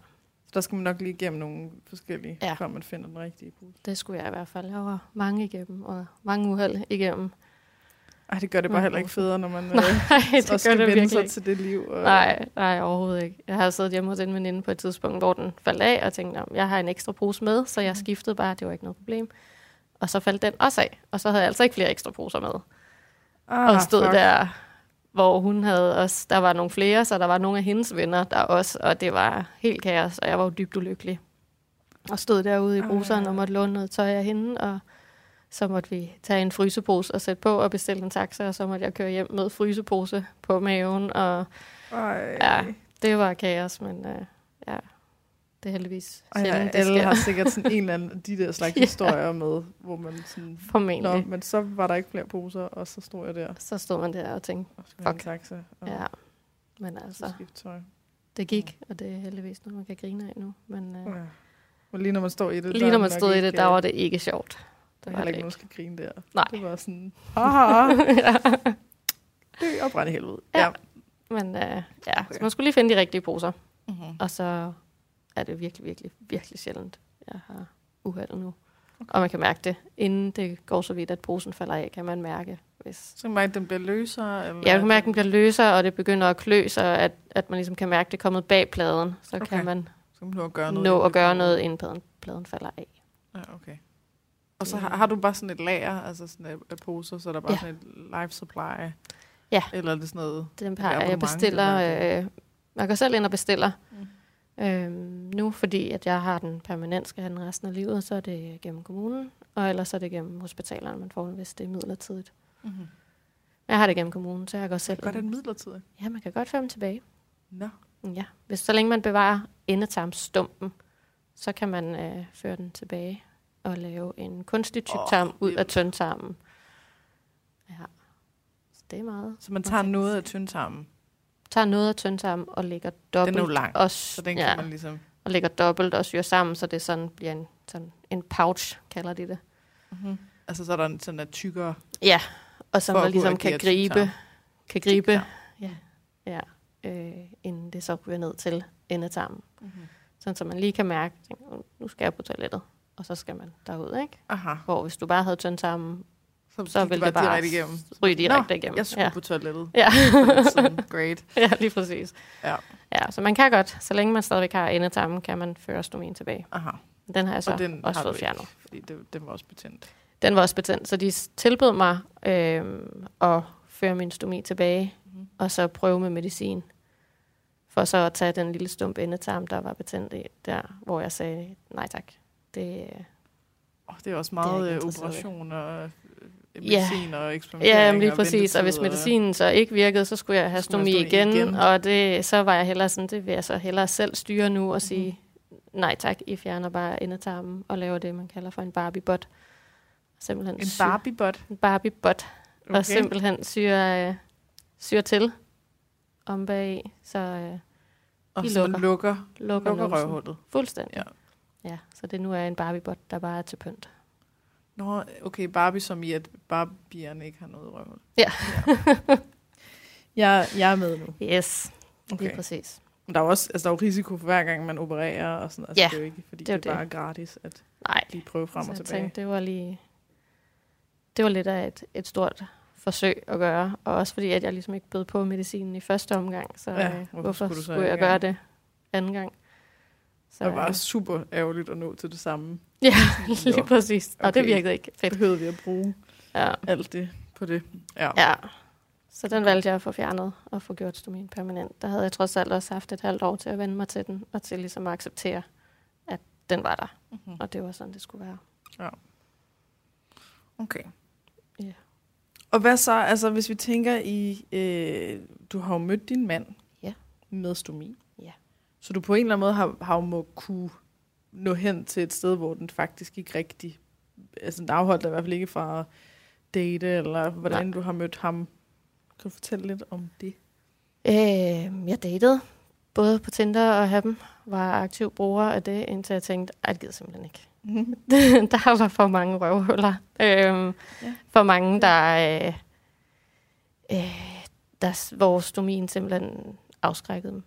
S1: Så der skal man nok lige igennem nogle forskellige, ja.
S2: Ja.
S1: før man finder den rigtige pose.
S2: Det skulle jeg i hvert fald. Jeg var mange igennem, og mange uheld igennem.
S1: Ej, det gør det bare heller ikke federe, når man øh,
S2: Nej,
S1: også
S2: det gør
S1: skal
S2: det
S1: vende
S2: virkelig
S1: sig
S2: ikke.
S1: til det liv. Og,
S2: Nej, nej, overhovedet ikke. Jeg har siddet hjemme hos en veninde på et tidspunkt, hvor den faldt af, og tænkte, om jeg har en ekstra pose med, så
S1: Mhm.
S2: jeg skiftede bare, det var ikke noget problem. Og så faldt den også af, og så havde jeg altså ikke flere ekstra poser med.
S1: Ah,
S2: og stod
S1: fuck.
S2: der, hvor hun havde også, der var nogle flere, så der var nogle af hendes venner der også, og det var helt kaos, og jeg var jo dybt ulykkelig. Og stod derude i
S1: Ej.
S2: bruseren og måtte låne noget tøj af hende, og så måtte vi tage en frysepose og sætte på og bestille en taxa, og så måtte jeg køre hjem med frysepose på maven, og
S1: Ej.
S2: Ja, det var kaos, men øh, ja, det er heldigvis
S1: Ej, ja,
S2: sjældent, det
S1: alle
S2: sker
S1: har sikkert sådan en eller anden af de der slags
S2: Ja.
S1: historier med, hvor man sådan... Nå,
S2: formentlig.
S1: men så var der ikke flere poser, og så stod jeg der
S2: Så stod man der og tænkte,
S1: og skulle have en
S2: Fuck.
S1: taxa og
S2: ja, men
S1: så
S2: altså,
S1: skifte tøj.
S2: det gik, og det er heldigvis noget, man kan grine af nu. Men øh,
S1: Ja. Men lige når man står i det,
S2: lige når man stod i det, der var
S1: det
S2: det ikke sjovt.
S1: der
S2: Det
S1: øh, er
S2: var
S1: heller
S2: det
S1: ikke nogen,
S2: ikke.
S1: der skal grine der.
S2: Nej.
S1: Det var sådan, haha,
S2: ja.
S1: dø og brænde i helvede.
S2: Ja. Men øh, ja, så man skulle lige finde de rigtige poser,
S1: Mhm.
S2: og så er det virkelig, virkelig, virkelig sjældent, jeg har uheldet nu. Og man kan mærke det, inden det går så vidt, at posen falder af, kan man mærke, hvis
S1: Så kan man mærke, at den bliver løsere? Eller
S2: Ja, du kan mærke, at den bliver løsere, og det begynder at klø, så at, at man ligesom kan mærke, at det er kommet bag pladen. Så okay.
S1: Okay.
S2: kan man
S1: Så kan man nå at gøre noget.
S2: nå at gøre noget, inden pladen, pladen falder af.
S1: Ja, okay. Og så har, har du bare sådan et lager, altså sådan af, af poser, så er der bare
S2: Ja.
S1: ja. sådan et life supply?
S2: Ja.
S1: Eller er det sådan noget?
S2: Den
S1: er
S2: har jeg, jeg
S1: abonnement,
S2: bestiller...
S1: eller
S2: Øh, jeg går selv ind og bestiller øhm, nu, fordi at jeg har den permanent, skal have den resten af livet, så er det gennem kommunen, og ellers er det gennem hospitalerne, man får den, hvis det er midlertidigt.
S1: Mm-hmm.
S2: Jeg har det gennem kommunen, så jeg går selv
S1: Godt, er
S2: ind.
S1: den midlertidig.
S2: Ja, man kan godt få dem tilbage.
S1: Nå.
S2: Ja, hvis så længe man bevarer endetarmstumpen, så kan man øh, føre den tilbage og lave en kunstig
S1: Åh,
S2: tyktarm oh, ud af
S1: vildt.
S2: tyndtarmen. Ja, så det er meget.
S1: Så man
S2: Okay.
S1: tager noget af tyndtarmen,
S2: Tager noget af tyndtarmen og lægger dobbelt.
S1: jo lang,
S2: og,
S1: så den
S2: ja,
S1: kan man ligesom...
S2: og lægger dobbelt og syr sammen, så det sådan bliver en, sådan en pouch, kalder de det.
S1: Mm-hmm. Altså så er der en- sådan en tykkere...
S2: Ja, og som
S1: For at
S2: man
S1: kunne
S2: ligesom kan
S1: agere
S2: gribe,
S1: tyktarm.
S2: kan gribe
S1: Tyktarm.
S2: ja, øh, inden det så ryger ned til endetarmen.
S1: Mhm.
S2: Sådan, så man lige kan mærke, tænker, nu skal jeg på toilettet, og så skal man derud, ikke?
S1: Aha.
S2: Hvor hvis du bare havde tynd sammen,
S1: gik
S2: så
S1: det
S2: ville det bare
S1: direkte igennem.
S2: ryge direkte
S1: Nå,
S2: igennem.
S1: Jeg skulle
S2: ja.
S1: ja. på toilettet.
S2: Ja.
S1: Sådan, great.
S2: ja, lige præcis.
S1: Ja.
S2: ja, så man kan godt, så længe man stadigvæk har endetarmen, kan man føre stomen tilbage.
S1: Aha.
S2: Den har jeg så
S1: og den
S2: også
S1: har
S2: fået
S1: du ikke,
S2: fjernet.
S1: fordi det, den var også betændt.
S2: Den var også betændt, så de s- tilbød mig øh, at føre min stomi tilbage,
S1: Mhm.
S2: og så prøve med medicin. For så at tage den lille stump endetarm, der var betændt i, der hvor jeg sagde, nej tak, det, øh,
S1: Oh, det er også
S2: jeg
S1: meget
S2: ikke
S1: det er
S2: interesseret i.
S1: medicin og øh,
S2: Ja.
S1: medicin og eksperimentering.
S2: Ja, jamen lige
S1: og
S2: præcis. Og hvis
S1: ventetid
S2: medicinen så ikke virkede, så skulle jeg have
S1: Så skulle
S2: stomi
S1: man stå i
S2: igen,
S1: igen.
S2: igen, og det, så var jeg hellere sådan, det vil jeg så hellere selv styre
S1: Mhm.
S2: nu og sige, nej tak, I fjerner bare endetarmen og laver det, man kalder for en barbie-bot. Simpelthen
S1: En
S2: sy-
S1: Barbie-bot.
S2: en barbie-bot, okay. og simpelthen syre, øh, syre til om bag, i, så øh,
S1: og
S2: de
S1: så man
S2: lukker.
S1: lukker,
S2: lukker,
S1: lukker
S2: numsen
S1: røvhullet.
S2: Fuldstændig.
S1: Ja.
S2: Ja. ja, så det nu er en barbie-bot, der bare er til pynt.
S1: Nå, okay, Barbie som i, at barbierne ikke har noget i røvhullet.
S2: Ja.
S1: Jeg, jeg er med nu.
S2: Yes, okay. lige
S1: Okay.
S2: præcis.
S1: Men der er, jo også, altså, der er jo risiko for hver gang, man opererer. Og sådan, altså,
S2: Ja,
S1: det er jo ikke, fordi
S2: det er
S1: det
S2: jo
S1: er, det er bare
S2: det.
S1: gratis at
S2: Nej,
S1: lige prøve frem
S2: så
S1: og
S2: jeg
S1: tilbage.
S2: Tænkte, det var lige det var lidt af et, et stort forsøg at gøre, og også fordi, at jeg ligesom ikke bød på medicinen i første omgang, så
S1: Ja,
S2: ja, hvorfor, hvorfor skulle,
S1: du så
S2: skulle jeg
S1: anden
S2: gøre
S1: gang?
S2: det anden gang? Så,
S1: Det var bare
S2: øh,
S1: super ærgerligt at nå til det samme.
S2: Ja,
S1: Nå,
S2: lige præcis. Og det
S1: okay.
S2: virkede ikke fedt.
S1: Behøvede vi at bruge
S2: Ja.
S1: alt det på det. Ja.
S2: ja. Så den valgte jeg at få fjernet og få gjort stomin permanent. Der havde jeg trods alt også haft et halvt år til at vende mig til den, og til ligesom at acceptere, at den var der,
S1: Mhm.
S2: og det var sådan, det skulle være.
S1: Okay.
S2: Ja.
S1: Og hvad så, altså hvis vi tænker i, øh, du har jo mødt din mand
S2: Ja.
S1: med stomi.
S2: Ja.
S1: Så du på en eller anden måde har, har jo må kunne nå hen til et sted, hvor den faktisk ikke rigtig, altså den afholdt dig i hvert fald ikke fra at date, eller hvordan Nej. du har mødt ham. Kan du fortælle lidt om det?
S2: Øh, jeg datede både på Tinder og Happen, var aktiv bruger af det, indtil jeg tænkte, at det gider jeg simpelthen ikke. der var for mange røvhuller. Øh,
S1: Ja.
S2: ja. For mange, der, øh, øh, der s- hvor stomien simpelthen afskrækkede dem.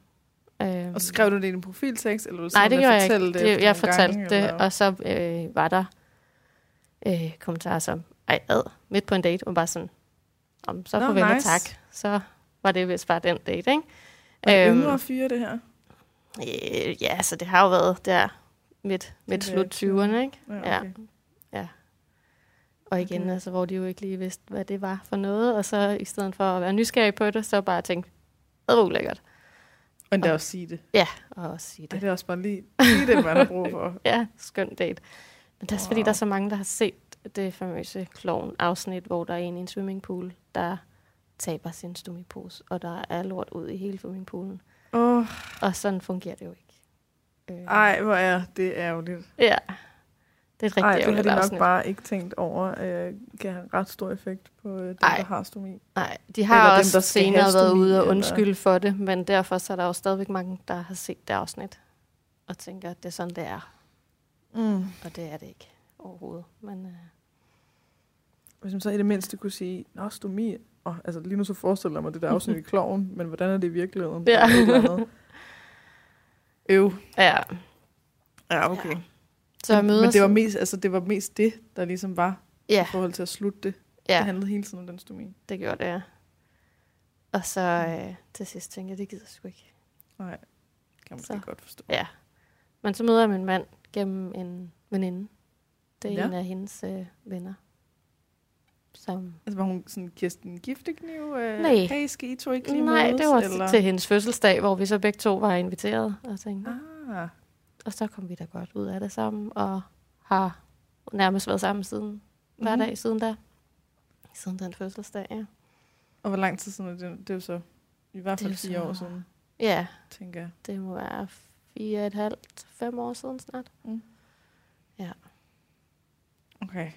S2: Øh,
S1: Og så skrev du det i din profiltekst, eller du
S2: Nej, det
S1: simpelthen
S2: gjorde jeg ikke.
S1: fortalte
S2: Det,
S1: efter
S2: det,
S1: nogle
S2: jeg fortalte
S1: gange,
S2: det,
S1: eller?
S2: og så øh, var der øh, kommentarer som, ej ad, midt på en date, og bare sådan, Om, så
S1: Nå,
S2: farvel og
S1: nice.
S2: tak. Så var det vist bare den date, ikke?
S1: Og det
S2: Øhm.
S1: yngre fyre, det her.
S2: Øh, ja, så det har jo været der midt, midt
S1: Det er
S2: slut 20'erne, ikke? Ja.
S1: okay.
S2: Og igen,
S1: Okay.
S2: altså, hvor de jo ikke lige vidste, hvad det var for noget, og så i stedet for at være nysgerrig på det, så bare tænkte, det var ulækkert,
S1: Men det er også sige det.
S2: og også sige
S1: Ej,
S2: det.
S1: det er også bare lige, lige det, man har brug for.
S2: Ja, skøn date. Men det er også fordi,
S1: Wow.
S2: der er så mange, der har set det famøse klovn-afsnit, hvor der er en i en swimmingpool, der taber sin stomipose, og der er lort ud i hele swimmingpoolen.
S1: Åh, oh,
S2: Og sådan fungerer det jo ikke. Øh,
S1: ej, hvor er det ærgerligt.
S2: Ja, det er et rigtig
S1: Ej, det har
S2: ærgerligt
S1: de nok
S2: afsnit.
S1: bare ikke tænkt over, øh, kan have ret stor effekt på øh, dem,
S2: Ej.
S1: der har stomi.
S2: Nej, de har
S1: Eller dem,
S2: også
S1: der
S2: dem,
S1: skal have
S2: senere været
S1: stomi,
S2: ude og
S1: eller-
S2: undskylde for det, men derfor så er der jo stadigvæk mange, der har set det afsnit og tænker, at det er sådan, det er.
S1: Mm.
S2: Og det er det ikke overhovedet. Men øh,
S1: Hvis man så i det mindste kunne sige, nå, stomi, oh, altså lige nu så forestiller jeg mig det der afsnit i kloven, men hvordan er det i virkeligheden?
S2: Ja.
S1: Eller et eller andet. Øv.
S2: ja,
S1: Ja,
S2: okay.
S1: okay.
S2: så jeg møder...
S1: men det var, mest, altså, det var mest det, der ligesom var
S2: Ja,
S1: i forhold til at slutte det. Det
S2: ja,
S1: handlede hele tiden om den stomi.
S2: det gjorde det, ja. Og så
S1: Mm.
S2: øh, til sidst tænkte jeg, det gider jeg sgu ikke.
S1: Nej, kan man
S2: Så.
S1: så. godt forstå.
S2: Ja. Men så møder jeg min mand gennem en veninde. Det er
S1: Ja.
S2: en af hendes øh, venner. Som...
S1: Altså var hun sådan Kirsten Giftekniv? Øh,
S2: Nej.
S1: Hey, skal I to ikke lige
S2: Nej,
S1: mødes?
S2: det var eller? til hendes fødselsdag, hvor vi så begge to var inviteret. Og tænkte,
S1: Ah,
S2: Og så kom vi da godt ud af det sammen, og har nærmest været sammen siden hver
S1: Mhm.
S2: dag siden der. Siden den fødselsdag, ja.
S1: og hvor lang tid siden er det? Det er jo så i hvert
S2: Det er
S1: fald
S2: jo
S1: fire
S2: så-
S1: år siden,
S2: Ja,
S1: tænker jeg.
S2: det må være fire og et halvt, fem år siden snart.
S1: Okay.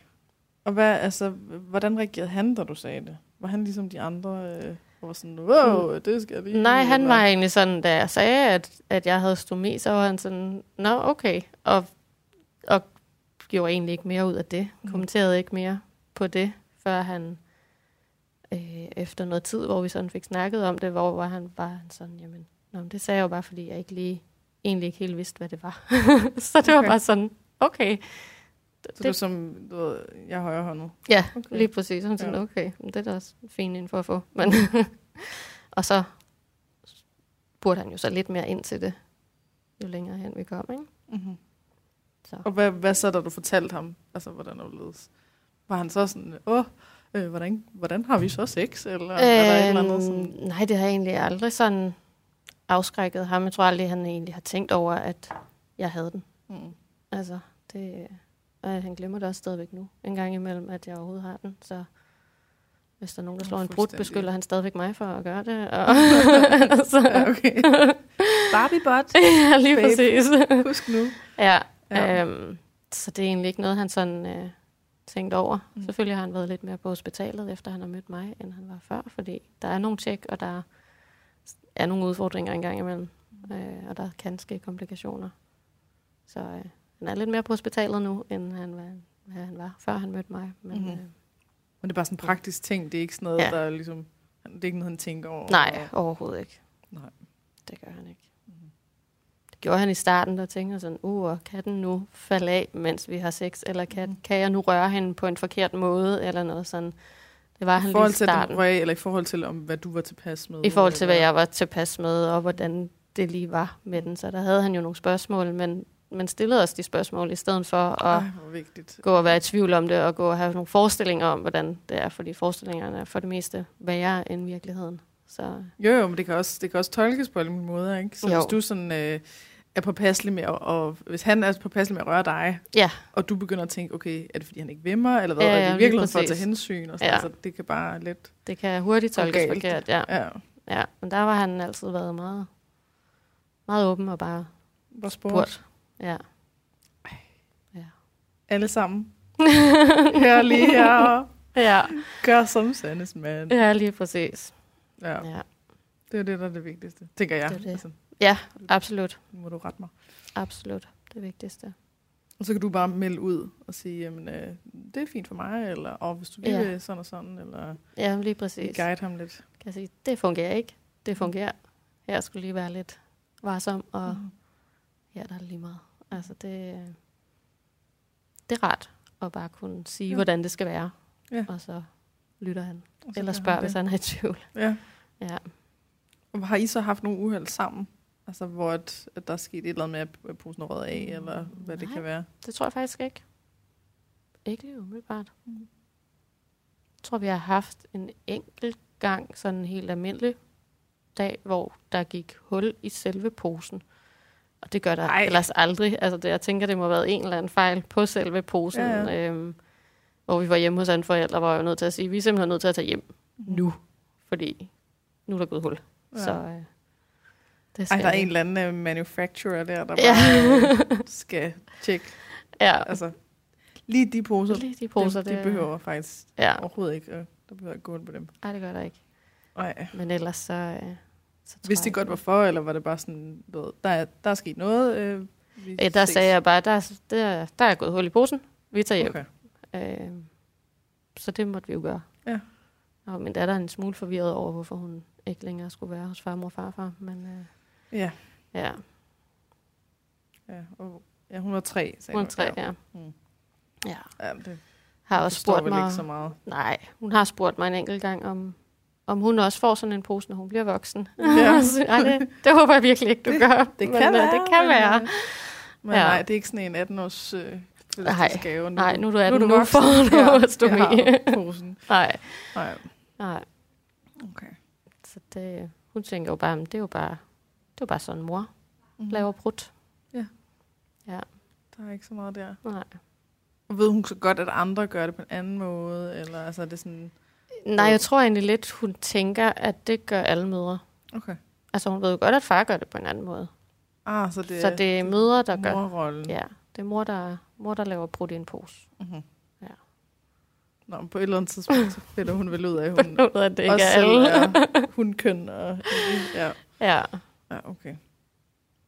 S1: Og hvad, altså, hvordan reagerede han, da du sagde det? Var han ligesom de andre, øh, og var sådan, wow, det skal jeg lige...
S2: Mm. Nej, han
S1: eller-
S2: var egentlig sådan, da jeg sagde, at, at jeg havde stomi, så var han sådan, nå, okay. Og, og gjorde egentlig ikke mere ud af det.
S1: Mhm.
S2: Kommenterede ikke mere på det, før han øh, efter noget tid, hvor vi sådan fik snakket om det, hvor var han bare sådan, jamen, nå, men det sagde jeg jo bare, fordi jeg ikke lige, egentlig ikke helt vidste, hvad det var. så det okay. var
S1: Okay.
S2: bare sådan, okay.
S1: Så det var som, du ved, jeg er højrehåndet.
S2: Ja,
S1: Okay.
S2: okay. lige præcis. Hun sådan,
S1: Ja.
S2: okay, men det er da også fint info at få. Men og så burde han jo så lidt mere ind til det, jo længere hen vi kom, ikke?
S1: Mm-hmm.
S2: Så.
S1: Og hvad, hvad så, da du fortalte ham, altså, hvordan det ledes? Var han så sådan, åh, øh, hvordan, hvordan har vi så sex? Eller øh, er der et eller andet sådan...
S2: Øhm, nej, det har egentlig aldrig sådan afskrækket ham. Jeg tror aldrig, han egentlig har tænkt over, at jeg havde den.
S1: Mm.
S2: Altså, det, og han glemmer det også stadigvæk nu, en gang imellem, at jeg overhovedet har den. Så hvis der er nogen, der
S1: Ja,
S2: slår en brud,
S1: fuldstændig.
S2: beskylder han stadigvæk mig for at gøre det. Og
S1: Ja,
S2: så,
S1: okay. Barbie bot,
S2: ja, lige
S1: Babe.
S2: præcis.
S1: husk nu.
S2: Ja,
S1: Ja.
S2: ja. Øhm, så det er egentlig ikke noget, han sådan øh, tænkt over.
S1: Mm.
S2: Mm. Selvfølgelig har han været lidt mere på hospitalet, efter han har mødt mig, end han var før, fordi der er nogle tjek, og der er nogle udfordringer engang imellem, øh, og der kan ske komplikationer. Så øh, han er lidt mere på hospitalet nu, end han var, hvad han var før han mødte mig. Men,
S1: Mhm.
S2: mm. øh,
S1: Men det er bare sådan en praktisk ting, det er ikke sådan noget, ja.
S2: Mm. Ja.
S1: der er ligesom... Det er ikke noget, han tænker over.
S2: nej, overhovedet ikke.
S1: Nej.
S2: Det gør han ikke.
S1: Mhm.
S2: Det gjorde han i starten, der tænkte jeg sådan, uh, og kan den nu falde af, mens vi har sex, eller kan,
S1: Mhm.
S2: kan jeg nu røre hende på en forkert måde, eller noget sådan. Det var han
S1: I
S2: lige i
S1: forhold til, at den
S2: starten.
S1: røg, eller i forhold til, om hvad du var tilpas med?
S2: I forhold til, hvad
S1: eller-
S2: jeg var tilpas med, og hvordan det lige var med den. Så der havde han jo nogle spørgsmål, men man stillede os de spørgsmål, i stedet for at
S1: Ej, hvor vigtigt.
S2: gå og være i tvivl om det, og gå og have nogle forestillinger om, hvordan det er, fordi forestillingerne er for det meste værre end virkeligheden. Så
S1: Jo, jo, men det kan også, det kan også tolkes på alle mulige måder, ikke? Så jo.
S2: Jo.
S1: hvis du sådan, øh, er påpasselig med, at, og hvis han er påpasselig med at røre dig,
S2: Ja.
S1: og du begynder at tænke, okay, er det fordi, han ikke vil mig, eller hvad,
S2: Ja,
S1: ja, er
S2: ja,
S1: det i
S2: lige
S1: virkeligheden for at
S2: præcis.
S1: tage hensyn? Og sådan, ja.
S2: Ja.
S1: altså, det kan bare lidt...
S2: det kan hurtigt tolkes
S1: galt.
S2: forkert. Ja.
S1: Ja,
S2: Ja, men der var han altid været meget, meget åben og bare
S1: hvor sport.
S2: spurgt. Ja.
S1: Alle sammen. Hør lige her, og
S2: ja.
S1: gør som Sandes mand.
S2: Ja, lige præcis.
S1: Ja,
S2: Ja,
S1: det er jo det, der er det vigtigste, tænker jeg.
S2: Det er det.
S1: Altså,
S2: absolut.
S1: nu må du rette mig.
S2: Absolut. Det vigtigste.
S1: Og så kan du bare melde ud og sige, jamen, øh, det er fint for mig, eller og hvis du lige
S2: Ja.
S1: vil sådan og sådan, eller
S2: Ja, lige præcis. Kan
S1: guide ham lidt.
S2: jeg sige, det fungerer ikke. Det fungerer. Her skulle lige være lidt varsom, og
S1: Mhm.
S2: her der er det lige meget. Altså, det, øh, det er rart at bare kunne sige,
S1: Ja.
S2: hvordan det skal være.
S1: Ja.
S2: Og så lytter han.
S1: Og så
S2: Eller
S1: gør
S2: spørger,
S1: han
S2: hvis han er i tvivl.
S1: det. Ja.
S2: Ja.
S1: Og Har I så haft nogle uheld sammen? Altså, hvor at, at der er sket et eller andet med, at posen er røget af, eller hvad det
S2: Mm, Nej.
S1: kan være?
S2: Det tror jeg faktisk ikke. Ikke lige umiddelbart.
S1: Mm.
S2: Jeg tror, vi har haft en enkelt gang, sådan en helt almindelig dag, hvor der gik hul i selve posen. Og det gør der
S1: Ej.
S2: Ej. ellers aldrig. Altså, det, jeg tænker, det må have været en eller anden fejl på selve posen.
S1: Ja,
S2: Ja, ja. Øhm, hvor vi var hjemme hos en forælder, var jeg jo nødt til at sige, vi er simpelthen nødt til at tage hjem
S1: Mm.
S2: nu, fordi nu er der gået hul. Ja. Så øh, det
S1: Ej,
S2: skal
S1: der er
S2: vi.
S1: en eller anden øh, manufacturer der, der
S2: Ja.
S1: bare øh, skal tjekke.
S2: Ja,
S1: Altså, lige de poser,
S2: lige de poser,
S1: poser de, de behøver faktisk
S2: Ja,
S1: overhovedet ikke. Øh, der behøver ikke gå ind på dem.
S2: Ej, det gør der ikke.
S1: Nej.
S2: Men ellers så... Øh, så tror
S1: Vidste de
S2: jeg
S1: godt,
S2: ikke.
S1: hvorfor, eller var det bare sådan, du ved, der er, der er sket noget? Øh, vi
S2: Øh, der
S1: ses.
S2: sagde jeg bare, der, der, der er gået hul i posen. Vi tager hjem.
S1: Okay.
S2: Okay. Øh, så det måtte vi jo gøre.
S1: Ja.
S2: Og min datter er en smule forvirret over, hvorfor hun ikke længere skulle være hos farmor og farfar. Men øh,
S1: Ja,
S2: ja,
S1: ja, og, ja, hun var tre, sagde
S2: hun er
S1: du.
S2: tre, ja.
S1: Mm.
S2: Ja,
S1: ja det
S2: har også
S1: forstår
S2: spurgt
S1: vel
S2: mig...
S1: ikke så meget.
S2: Nej, hun har spurgt mig en enkelt gang, om, om hun også får sådan en pose, når hun bliver voksen.
S1: Ja.
S2: Så, Ej, det, det håber jeg virkelig ikke, du det, gør.
S1: Det
S2: men,
S1: kan
S2: øh,
S1: være.
S2: Det kan
S1: men,
S2: være.
S1: øh, Men
S2: Ja.
S1: nej, det er ikke sådan en 18-års øh, fødselsdagsgave.
S2: Nej, nu er du 18, nu,
S1: du
S2: nu
S1: voksen.
S2: får du
S1: Ja,
S2: ja, ostomi.
S1: jeg har posen.
S2: Nej,
S1: Nej,
S2: nej.
S1: okay.
S2: Så det, hun tænker jo bare, "Men det er jo bare, det er jo bare sådan, mor
S1: Mhm.
S2: laver brudt.
S1: Der er ikke så meget der.
S2: Nej.
S1: Og ved hun så godt, at andre gør det på en anden måde? Eller altså, er det sådan...
S2: Nej, jeg tror egentlig lidt, hun tænker, at det gør alle mødre.
S1: Okay.
S2: Altså hun ved jo godt, at far gør det på en anden måde.
S1: Ah, så
S2: Det,
S1: det,
S2: så det er mødre, der gør
S1: morrollen.
S2: Ja, det er mor, der, mor, der laver brudt i en pose.
S1: Mm-hmm.
S2: Ja.
S1: Nå, men på et eller andet tidspunkt, så finder hun vel ud af, at hun
S2: Hun ved, at det ikke
S1: også
S2: er
S1: selv
S2: alle.
S1: er hundkøn. Og, ja.
S2: Ja,
S1: Ja, okay.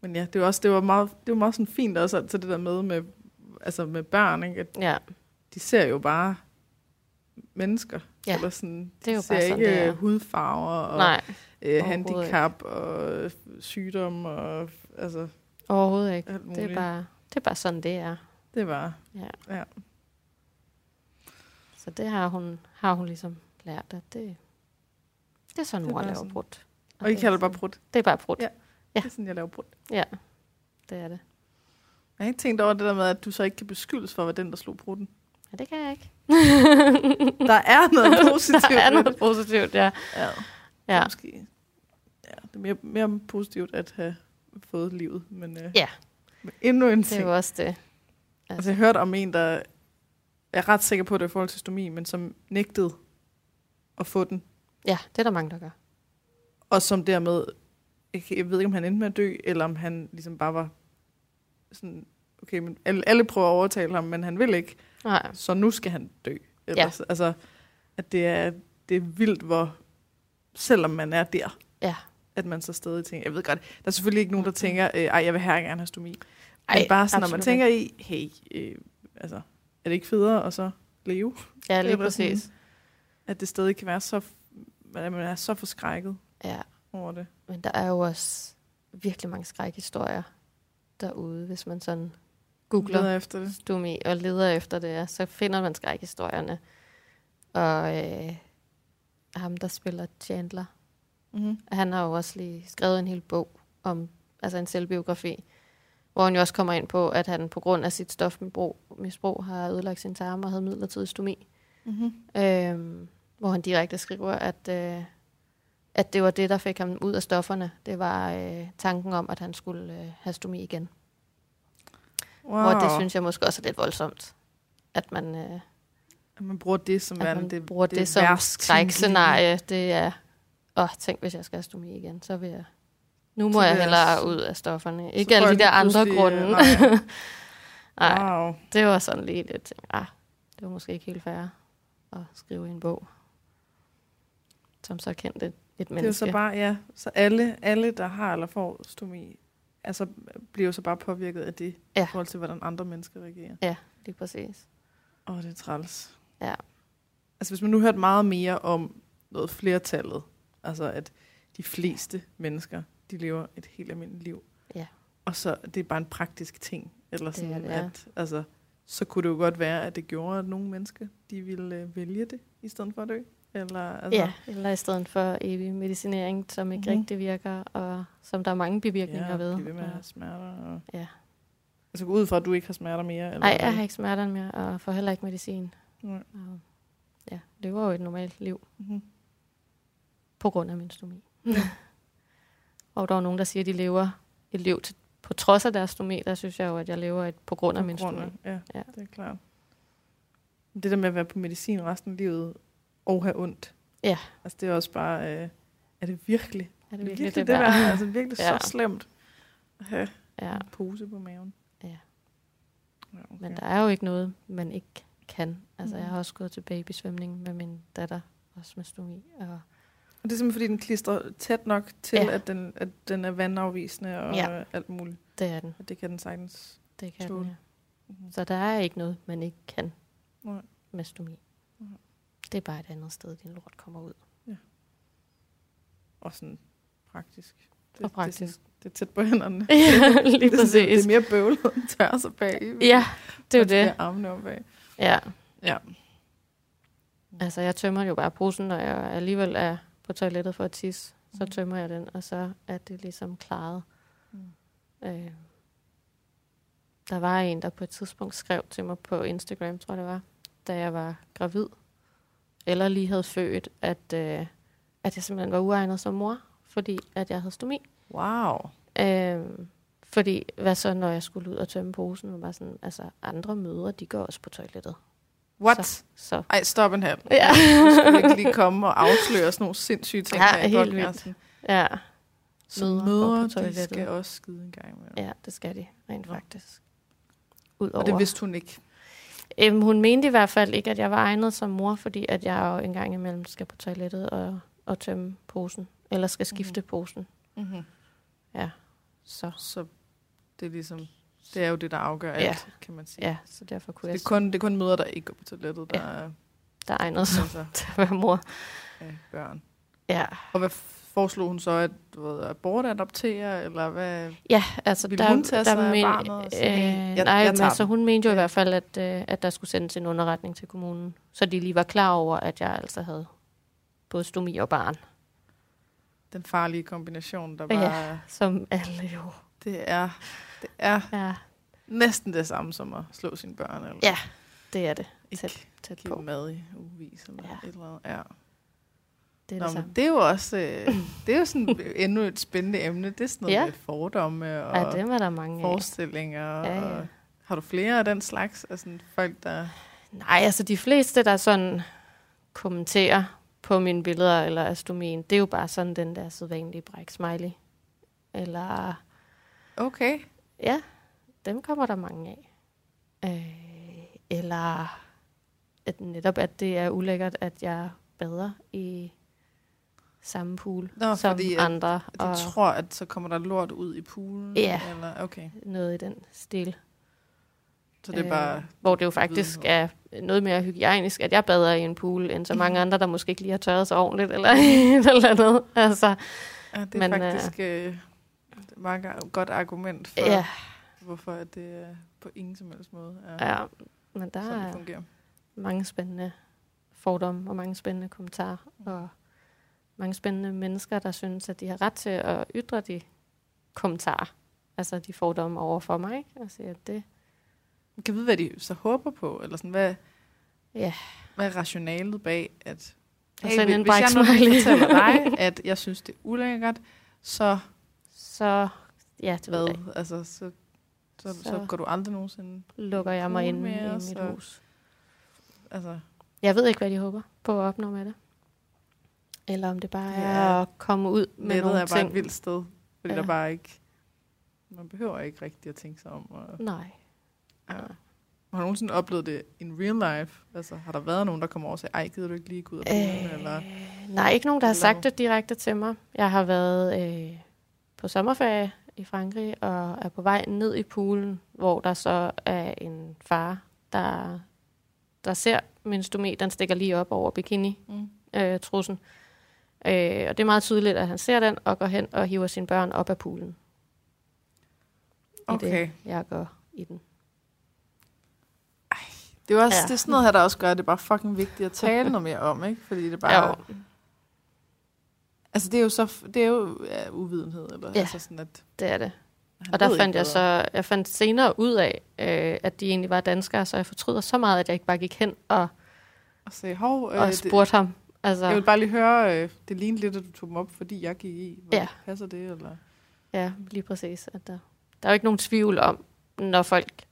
S1: Men ja, det var også det var meget, det var meget sådan fint også altså det der med med altså med børn, ikke? at
S2: ja,
S1: de ser jo bare mennesker.
S2: Ja,
S1: Eller sådan,
S2: det er jo
S1: de ser
S2: bare sådan,
S1: ikke
S2: det er.
S1: øh, hudfarver og
S2: nej,
S1: øh,
S2: overhovedet
S1: handicap og øh, sygdom og altså
S2: overhovedet ikke.
S1: alt muligt.
S2: Det er, bare, det er bare sådan, det er.
S1: det var
S2: Så det har hun, har hun ligesom lært, at det, det er sådan,
S1: Det er
S2: mor
S1: bare
S2: laver
S1: sådan.
S2: brudt.
S1: og I
S2: er
S1: kalder det bare
S2: sådan-
S1: brudt.
S2: Det er bare brudt,
S1: Ja.
S2: ja.
S1: Ja. Det er sådan, jeg laver brudt.
S2: ja. Det er det.
S1: Jeg har ikke tænkt over det der med, at du så ikke kan beskyldes for at være den, der slog brutten.
S2: Ja, det kan jeg ikke.
S1: Der er noget positivt.
S2: der er
S1: ved
S2: noget positivt, ja.
S1: det. Ja.
S2: ja.
S1: Måske. Ja, det er mere, mere positivt at have fået livet, men, øh,
S2: Ja.
S1: men endnu en
S2: Det er
S1: ting.
S2: jo også det.
S1: Altså, jeg hørte om en, der jeg er ret sikker på, at det var i forhold til stomi, men som nægtede at få den,
S2: Ja, det er der mange, der gør.
S1: og som dermed, jeg, kan- jeg ved ikke, om han endte med at dø, eller om han ligesom bare var sådan, okay, men alle, alle prøver at overtale ham, men han vil ikke,
S2: Nej,
S1: så nu skal han dø. Ellers, ja. Altså, at det er, det er vildt, hvor selvom man er der,
S2: Ja.
S1: at man så stadig tænker, jeg ved godt, der er selvfølgelig ikke nogen, der tænker, øh, ej, jeg vil her gerne have stomi. Ej,
S2: Ej,
S1: Men bare sådan, når man
S2: absolut
S1: tænker i, hey, øh, altså, er det ikke federe at så leve?
S2: ja, lige
S1: Eller
S2: præcis.
S1: Sådan, at det stadig kan være så, f- at man er så forskrækket
S2: Ja,
S1: over det.
S2: men der er jo også virkelig mange skrækhistorier derude, hvis man sådan googler
S1: Leder efter det.
S2: stomi og leder efter det, ja, så finder man skrækhistorierne. Og øh, ham, der spiller Chandler,
S1: Mm-hmm.
S2: han har jo også lige skrevet en hel bog om, altså en selvbiografi, hvor han jo også kommer ind på, at han på grund af sit stofmisbrug misbrug, har ødelagt sin tarme og havde midlertidig stomi.
S1: Mm-hmm.
S2: øhm, hvor han direkte skriver, at, øh, at det var det, der fik ham ud af stofferne. Det var øh, tanken om, at han skulle øh, have stomi igen.
S1: Wow.
S2: Wow. Og det synes jeg måske også er lidt voldsomt, at man, øh,
S1: at man bruger det som
S2: at
S1: værende
S2: man
S1: det,
S2: bruger det, det som
S1: værst
S2: skrækscenarie. Det er, åh, tænk hvis jeg skal have stomi igen, så vil jeg... Nu må
S1: Så
S2: jeg
S1: vil jeg
S2: hellere
S1: også-
S2: ud af stofferne.
S1: Så
S2: Ikke alle
S1: får
S2: de
S1: jeg
S2: der
S1: lige
S2: andre
S1: pludselig, øh,
S2: grunde.
S1: nej.
S2: Nej,
S1: Wow.
S2: det var sådan lige lidt... Ah, det var måske ikke helt fair at skrive i en bog, som så kendte et, et
S1: Det er jo
S2: menneske.
S1: så bare, ja, så alle, alle, der har eller får stomi, altså bliver jo så bare påvirket af det,
S2: Ja.
S1: i forhold til, hvordan andre mennesker reagerer.
S2: Lige præcis.
S1: Åh, oh, det er træls.
S2: Ja.
S1: Altså, hvis man nu hørte meget mere om noget flertallet, altså at de fleste mennesker, de lever et helt almindeligt liv.
S2: Ja.
S1: Og så, det er bare en praktisk ting, eller
S2: Det
S1: sådan,
S2: er det, ja.
S1: at, altså, så kunne det jo godt være, at det gjorde, at nogle mennesker, de ville øh, vælge det, i stedet for at dø. Eller, altså,
S2: Ja, eller i stedet for evig medicinering, som ikke
S1: Mhm.
S2: mm-hmm. rigtig virker, og som der er mange bivirkninger
S1: ja,
S2: ved.
S1: blive ved med at
S2: Og-
S1: have smerter. Og...
S2: Ja.
S1: Altså gå ud fra, at du ikke har smerter mere? Eller
S2: Nej, jeg
S1: hvad?
S2: har ikke smerterne mere, og får heller ikke medicin.
S1: Nej.
S2: Og, ja, det var jo et normalt liv
S1: Mhm.
S2: på grund af min stomi. og der er nogen, der siger, at de lever et liv til, på trods af deres stomi, der synes jeg jo, at jeg lever et på grund af
S1: På
S2: min
S1: grund af-
S2: stomi.
S1: Ja, ja,
S2: Ja.
S1: det er klart. Men Det der med at være på medicin resten af livet og have ondt.
S2: Ja.
S1: Altså det er også bare, øh, er det virkelig, det
S2: Er det
S1: er virkelig
S2: virkelig
S1: det,
S2: det
S1: det
S2: værd?
S1: der? Altså virkelig ja.
S2: Ja.
S1: så slemt at have ja.
S2: Ja,
S1: en pose på maven.
S2: Ja.
S1: ja okay.
S2: men der er jo ikke noget, man ikke kan. Altså,
S1: Mhm.
S2: jeg har også gået til babysvømning med min datter, også med stomi, og
S1: Og det er simpelthen fordi, den klistrer tæt nok til, ja.
S2: Ja.
S1: at, den, at den er vandafvisende og ja.
S2: Ja.
S1: alt muligt.
S2: det er den.
S1: Og det kan den sagtens.
S2: Det kan
S1: Tåle.
S2: den, ja.
S1: Mhm.
S2: Så der er ikke noget, man ikke kan
S1: Nej. Mm.
S2: med stomi.
S1: Nej.
S2: Det er bare et andet sted, din lort kommer ud.
S1: Og sådan praktisk.
S2: Og
S1: Det, er
S2: praktisk.
S1: sådan, det er tæt på hænderne.
S2: Ja, lige
S1: det, er sådan, det
S2: præcis.
S1: er mere bøvlet end tørre sig bag. øh,
S2: Ja, det er jo det.
S1: Armene om bag.
S2: Ja.
S1: Ja.
S2: Altså, jeg tømmer jo bare posen, når jeg alligevel er på toilettet for at tisse. Så tømmer jeg den, og så er det ligesom klaret.
S1: Mm.
S2: Øh, der var en, der på et tidspunkt skrev til mig på Instagram, tror jeg det var, da jeg var gravid, eller lige havde født, at, øh, at jeg simpelthen var uegnet som mor, fordi at jeg havde stomi.
S1: Wow.
S2: Øhm, fordi, hvad så, når jeg skulle ud og tømme posen? Og bare sådan, altså, andre møder, de går også på toilettet.
S1: What? Så.
S2: Så- Så
S1: Ej, stop en halv.
S2: Ja.
S1: Du skal ikke lige komme og afsløre sådan nogle sindssyge ting.
S2: Ja,
S1: her i
S2: helt vildt.
S1: podcasten.
S2: ja,
S1: Så
S2: Mødre går
S1: mødre,
S2: på
S1: de
S2: toilettet.
S1: skal også skide en gang imellem.
S2: ja det skal de rent
S1: Nå.
S2: faktisk. Udover.
S1: Og det vidste hun ikke.
S2: Øhm, hun mente i hvert fald ikke, at jeg var egnet som mor, fordi at jeg jo en gang imellem skal på toilettet og, og tømme posen, eller skal
S1: Mhm.
S2: skifte posen.
S1: Mm-hmm.
S2: Så,
S1: Så det er ligesom, det er jo det, der afgør alt,
S2: Ja.
S1: kan man sige.
S2: ja, så derfor
S1: Så
S2: kunne jeg
S1: det, er
S2: sige,
S1: kun, det er kun mødre, der ikke går på toilettet, der
S2: Ja.
S1: er
S2: der er egnet som
S1: altså,
S2: til at være mor.
S1: ja, børn.
S2: Ja,
S1: Og hvad foreslog hun så, at du ved, abortadoptere, eller hvad?
S2: ja altså
S1: Ville
S2: der,
S1: hun tage sig
S2: der
S1: af
S2: men,
S1: barnet og sige,
S2: øh,
S1: "Nej, jeg-
S2: nej,
S1: jeg
S2: men
S1: tager
S2: altså,
S1: den"?
S2: hun mente jo i
S1: Ja.
S2: hvert fald, at, øh, at der skulle sendes en underretning til kommunen, så de lige var klar over, at jeg altså havde både stomi og barn,
S1: Den farlige kombination, der
S2: Ja.
S1: bare... Ja.
S2: som alle jo
S1: Det er, det er
S2: er.
S1: næsten det samme som at slå sine børn, eller
S2: Ja, det er det.
S1: ikke
S2: tæt- Tæt
S1: give
S2: på.
S1: dem mad i ugevis, eller ja.
S2: Ja.
S1: et eller andet. Ja.
S2: Det er
S1: Nå, men
S2: det samme.
S1: det er jo også øh, det er jo sådan endnu et spændende emne. Det er sådan noget ja.
S2: Ja.
S1: med fordomme og
S2: Ja, dem er der mange af.
S1: forestillinger.
S2: Ja, ja.
S1: Og, har du flere af den slags? Altså sådan folk, der...
S2: Nej, altså de fleste, der sådan kommenterer på mine billeder eller astomien, det er jo bare sådan den der sædvanlige bræk smiley. Eller,
S1: Okay.
S2: ja, dem kommer der mange af. Øh, eller at netop, at det er ulækkert, at jeg bader i samme pool
S1: Nå,
S2: som
S1: fordi at
S2: andre.
S1: De
S2: og
S1: tror, at så kommer der lort ud i poolen?
S2: Ja.
S1: Eller, okay.
S2: noget i den stil.
S1: Så
S2: Øh,
S1: det er bare...
S2: hvor det jo faktisk er noget mere hygiejnisk, at jeg bader i en pool, end så
S1: Mhm.
S2: mange andre, der måske ikke lige har tørret sig ordentligt, eller et eller andet. Altså,
S1: Ja, det er
S2: men, øh,
S1: faktisk øh, et meget ga- godt argument for,
S2: ja,
S1: hvorfor at det øh, på ingen som helst måde er,
S2: ja. Men der
S1: sådan, det
S2: er
S1: fungerer.
S2: mange spændende fordomme, og mange spændende kommentarer,
S1: Mm.
S2: og mange spændende mennesker, der synes, at de har ret til at ytre de kommentarer, altså de fordomme over for mig, ikke? og sige, at det,
S1: Man kan vide, hvad de så håber på, eller sådan, hvad,
S2: Ja.
S1: hvad er rationalet bag, at
S2: Og
S1: hey,
S2: send
S1: hvis,
S2: en
S1: hvis jeg nu
S2: bike-smiley.
S1: lige fortæller dig, at jeg synes, det er ulækkert, så,
S2: så, ja, det ved jeg, ikke.
S1: hvad, altså, så, så, så, så
S2: Så-
S1: går du aldrig nogensinde,
S2: lukker jeg mig
S1: Pool
S2: ind i
S1: mere,
S2: mit
S1: så-
S2: hus.
S1: altså,
S2: Jeg ved ikke, hvad de håber på at opnå med det. Eller om det bare er
S1: Ja.
S2: at komme ud med
S1: nettet
S2: nogle
S1: er bare
S2: ting.
S1: et vildt sted, fordi
S2: Ja.
S1: der bare ikke, man behøver ikke rigtig at tænke sig om, og
S2: Nej.
S1: Ja.
S2: Nej.
S1: Har du nogensinde oplevet det in real life? Altså, har der været nogen, der kommer over og siger, ej, gider du ikke lige gå ud af bilen? Øh, eller,
S2: Øh, nej, ikke nogen, der har
S1: Eller
S2: sagt
S1: hvor?
S2: det direkte til mig. Jeg har været øh, på sommerferie i Frankrig og er på vej ned i poolen, hvor der så er en far, der, der ser min stomé, den stikker lige op over bikini.
S1: mm.
S2: øh, trussen. Øh, og det er meget tydeligt, at han ser den og går hen og hiver sine børn op af poolen. I
S1: Okay.
S2: det, jeg går i den.
S1: Det er jo også ja.
S2: Ja.
S1: det er sådan noget her, der også gør, at det er bare fucking vigtigt at tale noget mere om, ikke? Fordi det er bare...
S2: Jo.
S1: Altså, det er jo så... f- Det er jo ja, uvidenhed, eller
S2: Ja.
S1: altså sådan, at...
S2: Det er det.
S1: han
S2: Og der
S1: ved
S2: fandt
S1: ikke
S2: jeg
S1: bedre.
S2: så, jeg fandt senere ud af, øh, at de egentlig var danskere, så jeg fortryder så meget, at jeg ikke bare gik hen og,
S1: Og sagde, hov, øh,
S2: og
S1: det,
S2: spurgte ham. Altså,
S1: jeg vil bare lige høre, øh, det lignede lidt, at du tog dem op, fordi jeg gik i. Hvor
S2: Ja.
S1: Passer det, eller...
S2: Ja, lige præcis. At der, der er jo ikke nogen tvivl om, når folk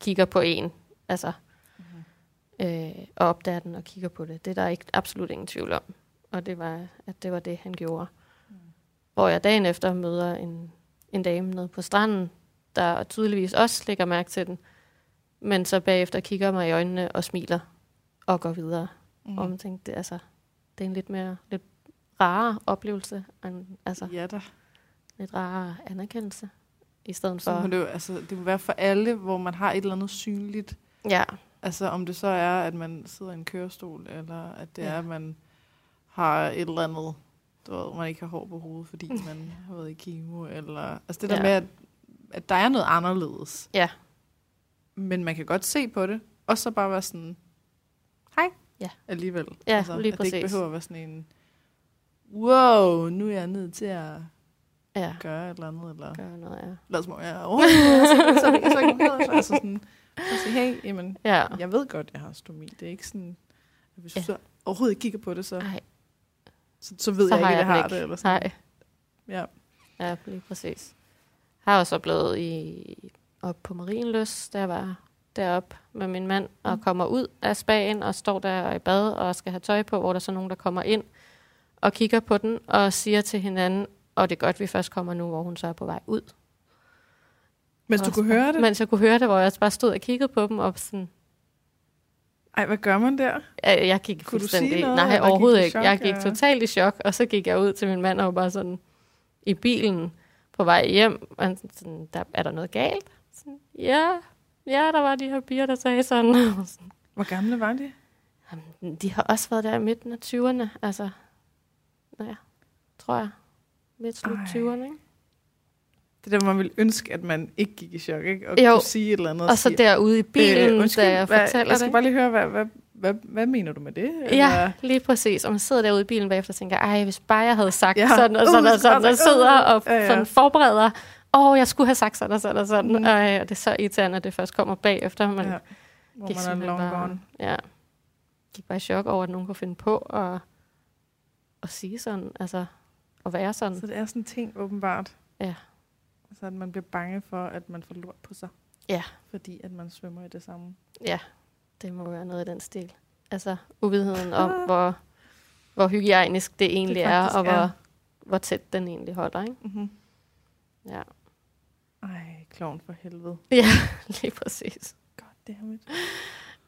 S2: kigger på en, altså, øh, og opdager den og kigger på det. Det er der ikke, absolut ingen tvivl om. Og det var, at det var det, han gjorde. Hvor jeg dagen efter møder en, en dame nede på stranden, der tydeligvis også lægger mærke til den, men så bagefter kigger mig i øjnene og smiler og går videre. Mm.
S1: Mhm.
S2: Og man tænkte, det, altså, det er en lidt mere lidt rarere oplevelse, end, altså,
S1: Ja, der.
S2: lidt rarere anerkendelse, i stedet
S1: Så må
S2: for...
S1: det, jo, altså, det må være for alle, hvor man har et eller andet synligt.
S2: Ja,
S1: Altså, om det så er, at man sidder i en kørestol, eller at det ja.
S2: Ja.
S1: er, at man har et eller andet, du ved, man ikke har hår på hovedet, fordi man har været i kemo, eller... Altså, det der ja.
S2: Ja.
S1: med, at, at der er noget anderledes.
S2: Ja.
S1: Men man kan godt se på det, og så bare være sådan, hej,
S2: Ja.
S1: alligevel.
S2: Ja, lige
S1: at det ikke
S2: præcis.
S1: behøver at være sådan en, wow, nu er jeg nødt til at
S2: ja,
S1: gøre et eller andet, eller
S2: gør noget, ja.
S1: lad os må jeg er overhovedet ikke, så er jeg så ikke så altså sådan, så sige, hey, jamen,
S2: Ja,
S1: jeg ved godt, jeg har stomi. Det er ikke sådan, at hvis du så overhovedet ikke kigger på det, så,
S2: Ej,
S1: så, så ved
S2: så
S1: jeg ikke,
S2: har
S1: at jeg
S2: jeg den
S1: har
S2: ikke.
S1: det. Eller sådan.
S2: Nej,
S1: Ja.
S2: ja, lige præcis. Jeg har også oplevet i, op på Marienløs, der var deroppe med min mand,
S1: Mm.
S2: og kommer ud af spagen og står der i bad og skal have tøj på, hvor der så er nogen, der kommer ind og kigger på den og siger til hinanden, og det er godt, vi først kommer nu, hvor hun så er på vej ud.
S1: Mens du
S2: Også
S1: kunne
S2: bare-
S1: høre det.
S2: Mens jeg kunne høre det, hvor jeg også bare stod og kiggede på dem, og sådan,
S1: Ej, hvad gør man der?
S2: Øh, Jeg gik
S1: Kunne du sige
S2: fuldstændig...
S1: noget,
S2: Nej,
S1: eller gik du i
S2: overhovedet ikke.
S1: chok,
S2: Jeg gik
S1: eller?
S2: totalt i chok, og så gik jeg ud til min mand, og var bare sådan i bilen på vej hjem, og han sådan, der, er der noget galt? Sådan, ja, ja, der var de her piger, der sagde sådan. Og sådan,
S1: Hvor gamle var de?
S2: Jamen, de har også været der i midten af 20'erne, altså, ja, tror jeg. Midt slut
S1: Ej.
S2: 20'erne, ikke?
S1: Det der, man ville ønske, at man ikke gik i chok, ikke? Og jo.
S2: Jo.
S1: kunne sige et eller andet.
S2: Og så
S1: sige,
S2: derude i bilen, øh,
S1: undskyld,
S2: da jeg
S1: hvad,
S2: fortæller
S1: Jeg
S2: det.
S1: skal bare lige høre, hvad, hvad, hvad, hvad mener du med det?
S2: Ja, lige præcis. Og man sidder derude i bilen bagefter og tænker, ej, hvis bare jeg havde sagt
S1: Ja.
S2: ja. sådan og sådan
S1: Uh,
S2: og sådan, og
S1: sådan, uh,
S2: sidder og
S1: ja, ja.
S2: sådan forbereder, åh, oh, jeg skulle have sagt sådan og sådan og sådan.
S1: Mm.
S2: Mm. Ej, og det er så irriterende, at det først kommer bagefter. Man
S1: Ja,
S2: ja,
S1: hvor
S2: gik
S1: man er
S2: simpelthen
S1: long
S2: bare-
S1: gone.
S2: ja, gik bare i chok over, at nogen kunne finde på at, at sige sådan, altså at være sådan.
S1: Så det er sådan en ting, åbenbart.
S2: Ja.
S1: Altså, at man bliver bange for, at man får lort på sig.
S2: Ja.
S1: Fordi at man svømmer i det samme.
S2: Det må være noget i den stil. Altså uvidenheden om, hvor, hvor hygiejnisk det egentlig det er,
S1: Ah. faktisk
S2: og hvor,
S1: er.
S2: hvor tæt den egentlig holder, ikke?
S1: Mm-hmm.
S2: Ja,
S1: Ej, klovn for helvede.
S2: lige præcis.
S1: God damn it.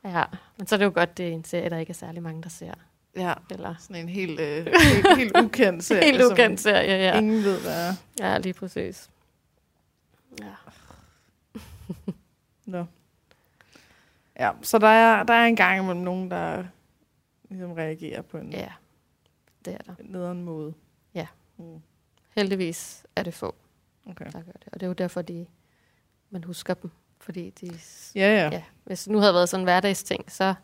S2: Ja, men så er det jo godt, det er en serie, der ikke er særlig mange, der ser.
S1: Ja,
S2: Eller
S1: sådan en helt, øh, helt, helt ukendt serie.
S2: helt ukendt serie,
S1: Som
S2: ja.
S1: ingen ved, hvad er.
S2: Ja, lige præcis. Ja.
S1: Nå. Ja, så der er, der er en gang imellem nogen, der ligesom reagerer på en ja.
S2: ja, det er der.
S1: nederen måde.
S2: Ja.
S1: Mm.
S2: Heldigvis er det få,
S1: Okay.
S2: der gør det. Og det er jo derfor, de, man husker dem. Fordi de,
S1: Ja, ja. ja.
S2: ja, hvis det nu havde været sådan en hverdagsting, så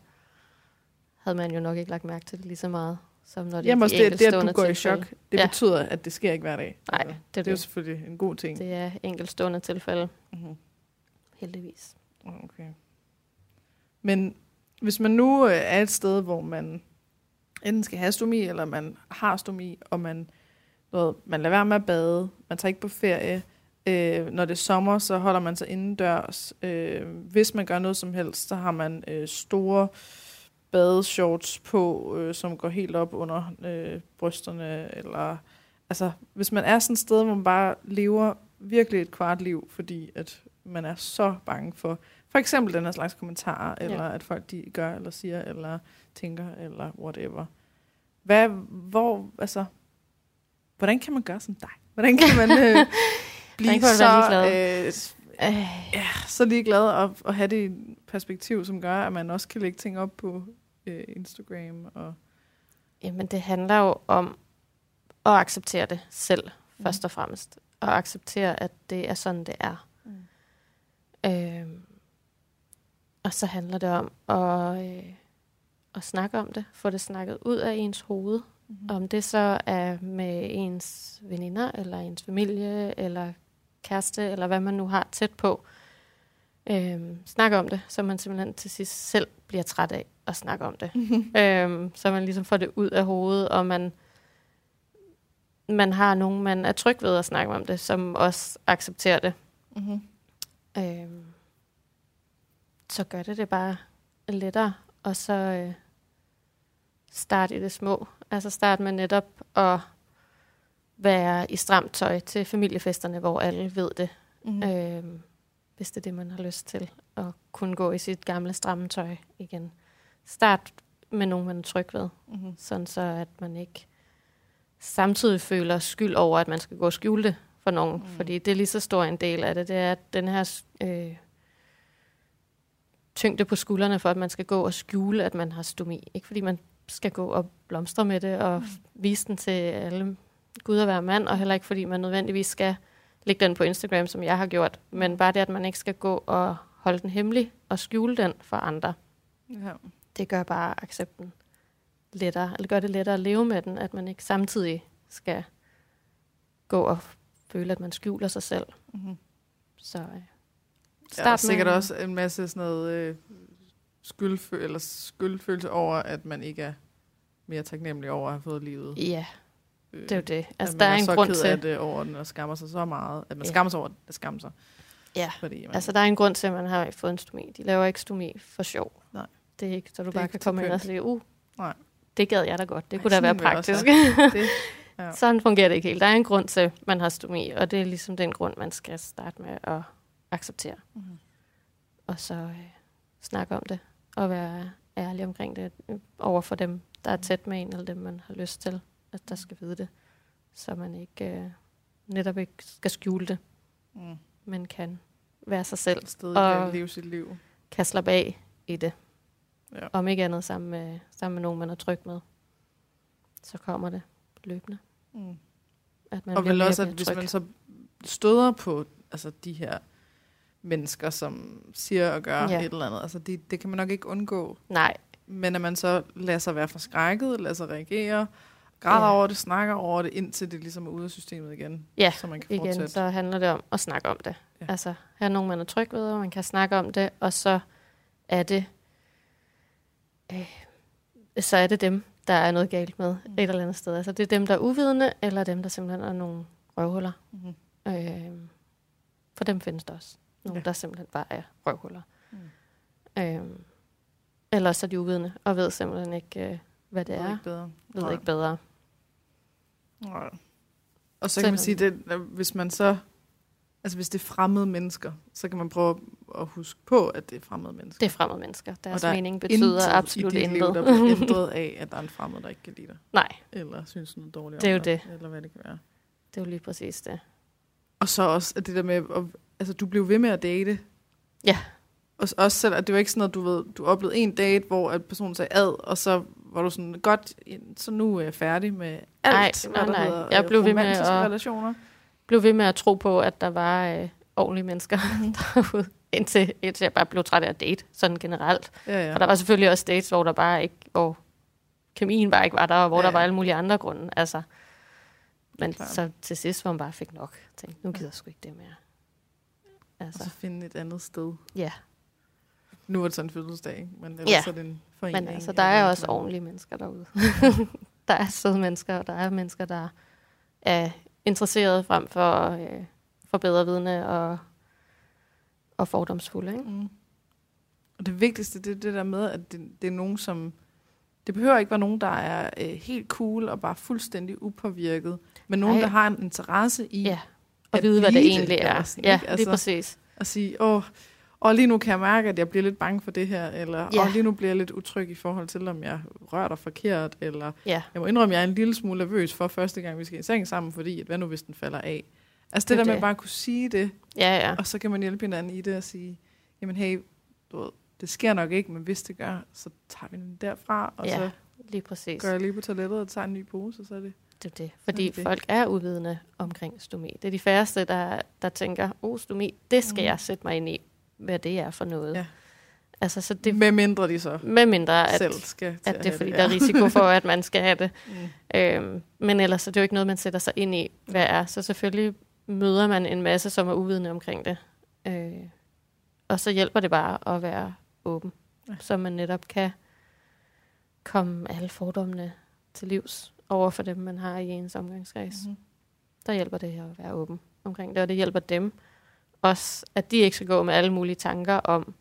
S2: havde man jo nok ikke lagt mærke til det lige så meget, som når det
S1: Jamen
S2: er
S1: også
S2: de
S1: det, det, at du
S2: enkeltstående
S1: går i
S2: tilfælde.
S1: chok, det ja.
S2: Ja.
S1: betyder, at det sker ikke hver dag.
S2: Nej,
S1: Altså,
S2: det er
S1: det er jo
S2: det.
S1: selvfølgelig en god ting.
S2: Det er enkeltstående tilfælde,
S1: Mm-hmm.
S2: heldigvis.
S1: Okay. Men hvis man nu øh, er et sted, hvor man enten skal have stomi, eller man har stomi, og man, noget, man lader være med at bade, man tager ikke på ferie, øh, når det er sommer, så holder man sig indendørs. Øh, hvis man gør noget som helst, så har man øh, store badeshorts på, øh, som går helt op under øh, brysterne, eller altså, hvis man er sådan et sted, hvor man bare lever virkelig et kvart liv, fordi at man er så bange for, for eksempel den her slags kommentarer,
S2: Ja.
S1: eller at folk de gør, eller siger, eller tænker, eller whatever. Hvad, hvor, altså, hvordan kan man gøre som dig? Hvordan kan man øh, blive
S2: kan man
S1: så,
S2: være
S1: øh,
S2: Øh,
S1: så ligeglad og, og have det perspektiv, som gør, at man også kan lægge ting op på øh, Instagram? Og,
S2: Jamen, det handler jo om at acceptere det selv, mm. først og fremmest. Og acceptere, at det er sådan, det er.
S1: Mm.
S2: Mm. Øhm, Og så handler det om at, øh, at snakke om det, få det snakket ud af ens hoved,
S1: Mm-hmm.
S2: om det så er med ens veninder, eller ens familie, eller kæreste, eller hvad man nu har tæt på. Øhm, snak om det, så man simpelthen til sidst selv bliver træt af at snakke om det. øhm, så man ligesom får det ud af hovedet, og man, man har nogen, man er tryg ved at snakke om det, som også accepterer det.
S1: Mm-hmm.
S2: Øhm, så gør det det bare lettere, og så øh, start i det små. Altså start med netop at være i stramt tøj til familiefesterne, hvor alle ved det,
S1: Mm-hmm. Øh.
S2: øhm, hvis det er det, man har lyst til, at kunne gå i sit gamle stramme tøj igen. Start med nogen, man er tryg ved,
S1: Mm-hmm.
S2: sådan så at man ikke samtidig føler skyld over, at man skal gå og skjule det for nogen.
S1: Mm.
S2: Mm. Fordi det er lige så stor en del af det, det er at den her øh, tyngde på skuldrene for, at man skal gå og skjule, at man har stomi. Ikke fordi man skal gå og blomstre med det og
S1: Mm.
S2: mm. vise den til alle gud og hver mand, og heller ikke fordi man nødvendigvis skal lægge den på Instagram, som jeg har gjort.
S1: Mm.
S2: Men bare det, at man ikke skal gå og holde den hemmelig og skjule den for andre
S1: Mm-hmm. Ja.
S2: det gør bare accepten lettere, eller gør det lettere at leve med den, at man ikke samtidig skal gå og føle, at man skjuler sig selv.
S1: Mm-hmm.
S2: Så øh,
S1: Ja, og sikkert også en masse sådan noget øh, skyldfø- eller skyldfølelse over, at man ikke er mere taknemmelig over at have fået livet. Øh,
S2: Ja, det er jo det. Altså,
S1: at
S2: der
S1: man
S2: er en
S1: så
S2: grund
S1: ked
S2: til,
S1: af det over den, og skammer sig så meget, at man
S2: Ja.
S1: skammer sig over at skamme sig.
S2: Ja,
S1: Fordi man,
S2: altså, der er en grund til, at man har fået en stomi. De laver ikke stomi for sjov.
S1: Nej.
S2: Det er ikke, så du
S1: Det er
S2: bare
S1: ikke
S2: kan
S1: til
S2: komme ind og
S1: pynt.
S2: sige, uh,
S1: Nej.
S2: det gad jeg da godt. Det
S1: Ej,
S2: Ej, kunne da være
S1: sådan vil jeg også
S2: praktisk.
S1: det, ja.
S2: Sådan fungerer det ikke helt. Der er en grund til, at man har stomi, og det er ligesom den grund, man skal starte med at acceptere.
S1: Mhm.
S2: Mm-hmm. Og så øh, snakke om det, og være ærlig omkring det øh, over for dem, der er tæt med en, eller dem, man har lyst til, at der skal vide det. Så man ikke øh, netop ikke skal skjule det,
S1: Mm.
S2: men kan være sig selv,
S1: Stadig og...
S2: Og-
S1: leve sit liv.
S2: kan slappe af i det.
S1: Ja.
S2: Ja. Om ikke andet sammen med, sammen med nogen, man er tryg med. Så kommer det løbende.
S1: Mm.
S2: At man
S1: Og
S2: bliver
S1: vel
S2: mere
S1: også,
S2: og
S1: at
S2: mere
S1: hvis
S2: tryg.
S1: man så støder på altså, de her mennesker, som siger og gør ja.
S2: Ja.
S1: et eller andet, altså, det, det kan man nok ikke undgå.
S2: Nej,
S1: Men at man så lader sig være forskrækket, lader sig reagere, græder ja.
S2: Ja.
S1: over det, snakker over det, indtil det ligesom er ude af systemet igen.
S2: Ja,
S1: så man kan
S2: igen,
S1: fortsætte.
S2: så handler det om at snakke om det.
S1: Ja.
S2: Ja. Altså, have nogen, man er tryg ved, og man kan snakke om det, og så er det, øh, så er det dem, der er noget galt med
S1: Mm.
S2: mm. et eller andet sted. Altså, det er dem, der er uvidende, eller dem, der simpelthen er nogle røvhuller.
S1: Mm-hmm.
S2: Øh, for dem findes der også. Nogle,
S1: Ja.
S2: ja. der simpelthen bare er røvhuller.
S1: Mm.
S2: Mm. Øh, ellers er de uvidende, og ved simpelthen ikke, øh, hvad det
S1: Det er
S2: er.
S1: ikke bedre.
S2: Ved
S1: Nej.
S2: ikke bedre.
S1: Nej. Og så kan man sige, det, hvis man så... Altså hvis det er fremmede mennesker, så kan man prøve at huske på, at det er fremmede mennesker.
S2: Det er fremmede mennesker. Deres
S1: der er
S2: mening betyder absolut
S1: i dit
S2: intet.
S1: Liv, der bliver ændret af, at der er en fremmed, der ikke kan lide dig.
S2: Nej,
S1: Eller synes noget dårligt
S2: Det er
S1: om
S2: jo
S1: dig, Eller hvad det kan være.
S2: det er jo lige præcis det.
S1: Og så også at det der med, at, altså du blev ved med at date.
S2: Ja.
S1: Og s- også selv, at det var ikke sådan noget, du ved, du oplevede en date, hvor at personen sagde ad, og så var du sådan, godt, så nu er jeg færdig med alt, hvad
S2: Nej, nej,
S1: der
S2: nej.
S1: hedder
S2: Jeg
S1: øh,
S2: blev ved med
S1: romantiske
S2: at-
S1: relationer.
S2: blev ved med at tro på, at der var øh, ordentlige mennesker derude, indtil, indtil jeg bare blev træt af at date, sådan generelt.
S1: Ja, ja.
S2: Og der var selvfølgelig også dates, hvor der bare ikke, hvor kemien bare ikke var der, og hvor
S1: Ja,
S2: ja. der var
S1: ja.
S2: alle mulige andre grunde. Altså. Men
S1: Klart.
S2: så til sidst, hvor man bare fik nok. Jeg tænkte, nu gider jeg sgu ikke det mere.
S1: Og
S2: Altså,
S1: så finde et andet sted.
S2: Ja.
S1: Nu er det sådan en fødselsdag, ikke? men ellers
S2: Ja.
S1: er det en forening.
S2: men altså, der
S1: eller
S2: er
S1: et
S2: også
S1: eller andet.
S2: ordentlige mennesker derude. der er søde mennesker, og der er mennesker, der er interesserede frem for, øh, for bedre vidne og, og fordomsfulde. Ikke?
S1: Mm. Og det vigtigste, det er det der med, at det, det er nogen, som... Det behøver ikke være nogen, der er øh, helt cool og bare fuldstændig upåvirket, men nogen,
S2: Ej.
S1: der har en interesse i
S2: Ja. Og
S1: at
S2: vide, hvad det
S1: blive
S2: egentlig
S1: eller
S2: er.
S1: sådan,
S2: Ja,
S1: ikke?
S2: lige
S1: Altså-
S2: præcis.
S1: at sige, åh, og lige nu kan jeg mærke, at jeg bliver lidt bange for det her, eller
S2: Ja.
S1: og lige nu bliver jeg lidt utryg i forhold til, om jeg rører dig forkert, eller
S2: Ja.
S1: jeg må indrømme, at jeg er en lille smule nervøs for første gang, vi skal i seng sammen, fordi at hvad nu, hvis den falder af? Altså det,
S2: Det
S1: det
S2: er
S1: der med
S2: det.
S1: at bare kunne sige det,
S2: Ja, ja.
S1: Og så kan man hjælpe hinanden i det og sige, jamen hey, du ved, det sker nok ikke, men hvis det gør, så tager vi den derfra, og
S2: Ja,
S1: så
S2: Lige præcis.
S1: går jeg lige på toilettet og tager en ny pose, og så er det...
S2: Det er det. Fordi
S1: det.
S2: det. folk er uvidende omkring stomi. Det er de færreste, der, der tænker, oh, stomi, det skal
S1: Mm.
S2: mm. jeg sætte mig ind i, hvad det er for noget.
S1: Ja.
S2: Altså, så
S1: Det...
S2: det,
S1: Med mindre de så
S2: med mindre, at,
S1: selv skal til
S2: at det er,
S1: have
S2: fordi
S1: ja.
S2: der er risiko for, at man skal have det.
S1: Mm.
S2: Øhm, men ellers er det jo ikke noget, man sætter sig ind i, hvad er. Så selvfølgelig møder man en masse, som er uvidende omkring det. Øh, og så hjælper det bare at være åben,
S1: Ja.
S2: så man netop kan komme alle fordommene til livs over for dem, man har i ens omgangskreds. Mm-hmm.
S1: Mhm.
S2: Der hjælper det at være åben omkring det, og det hjælper dem også, at de ikke skal gå med alle mulige tanker om,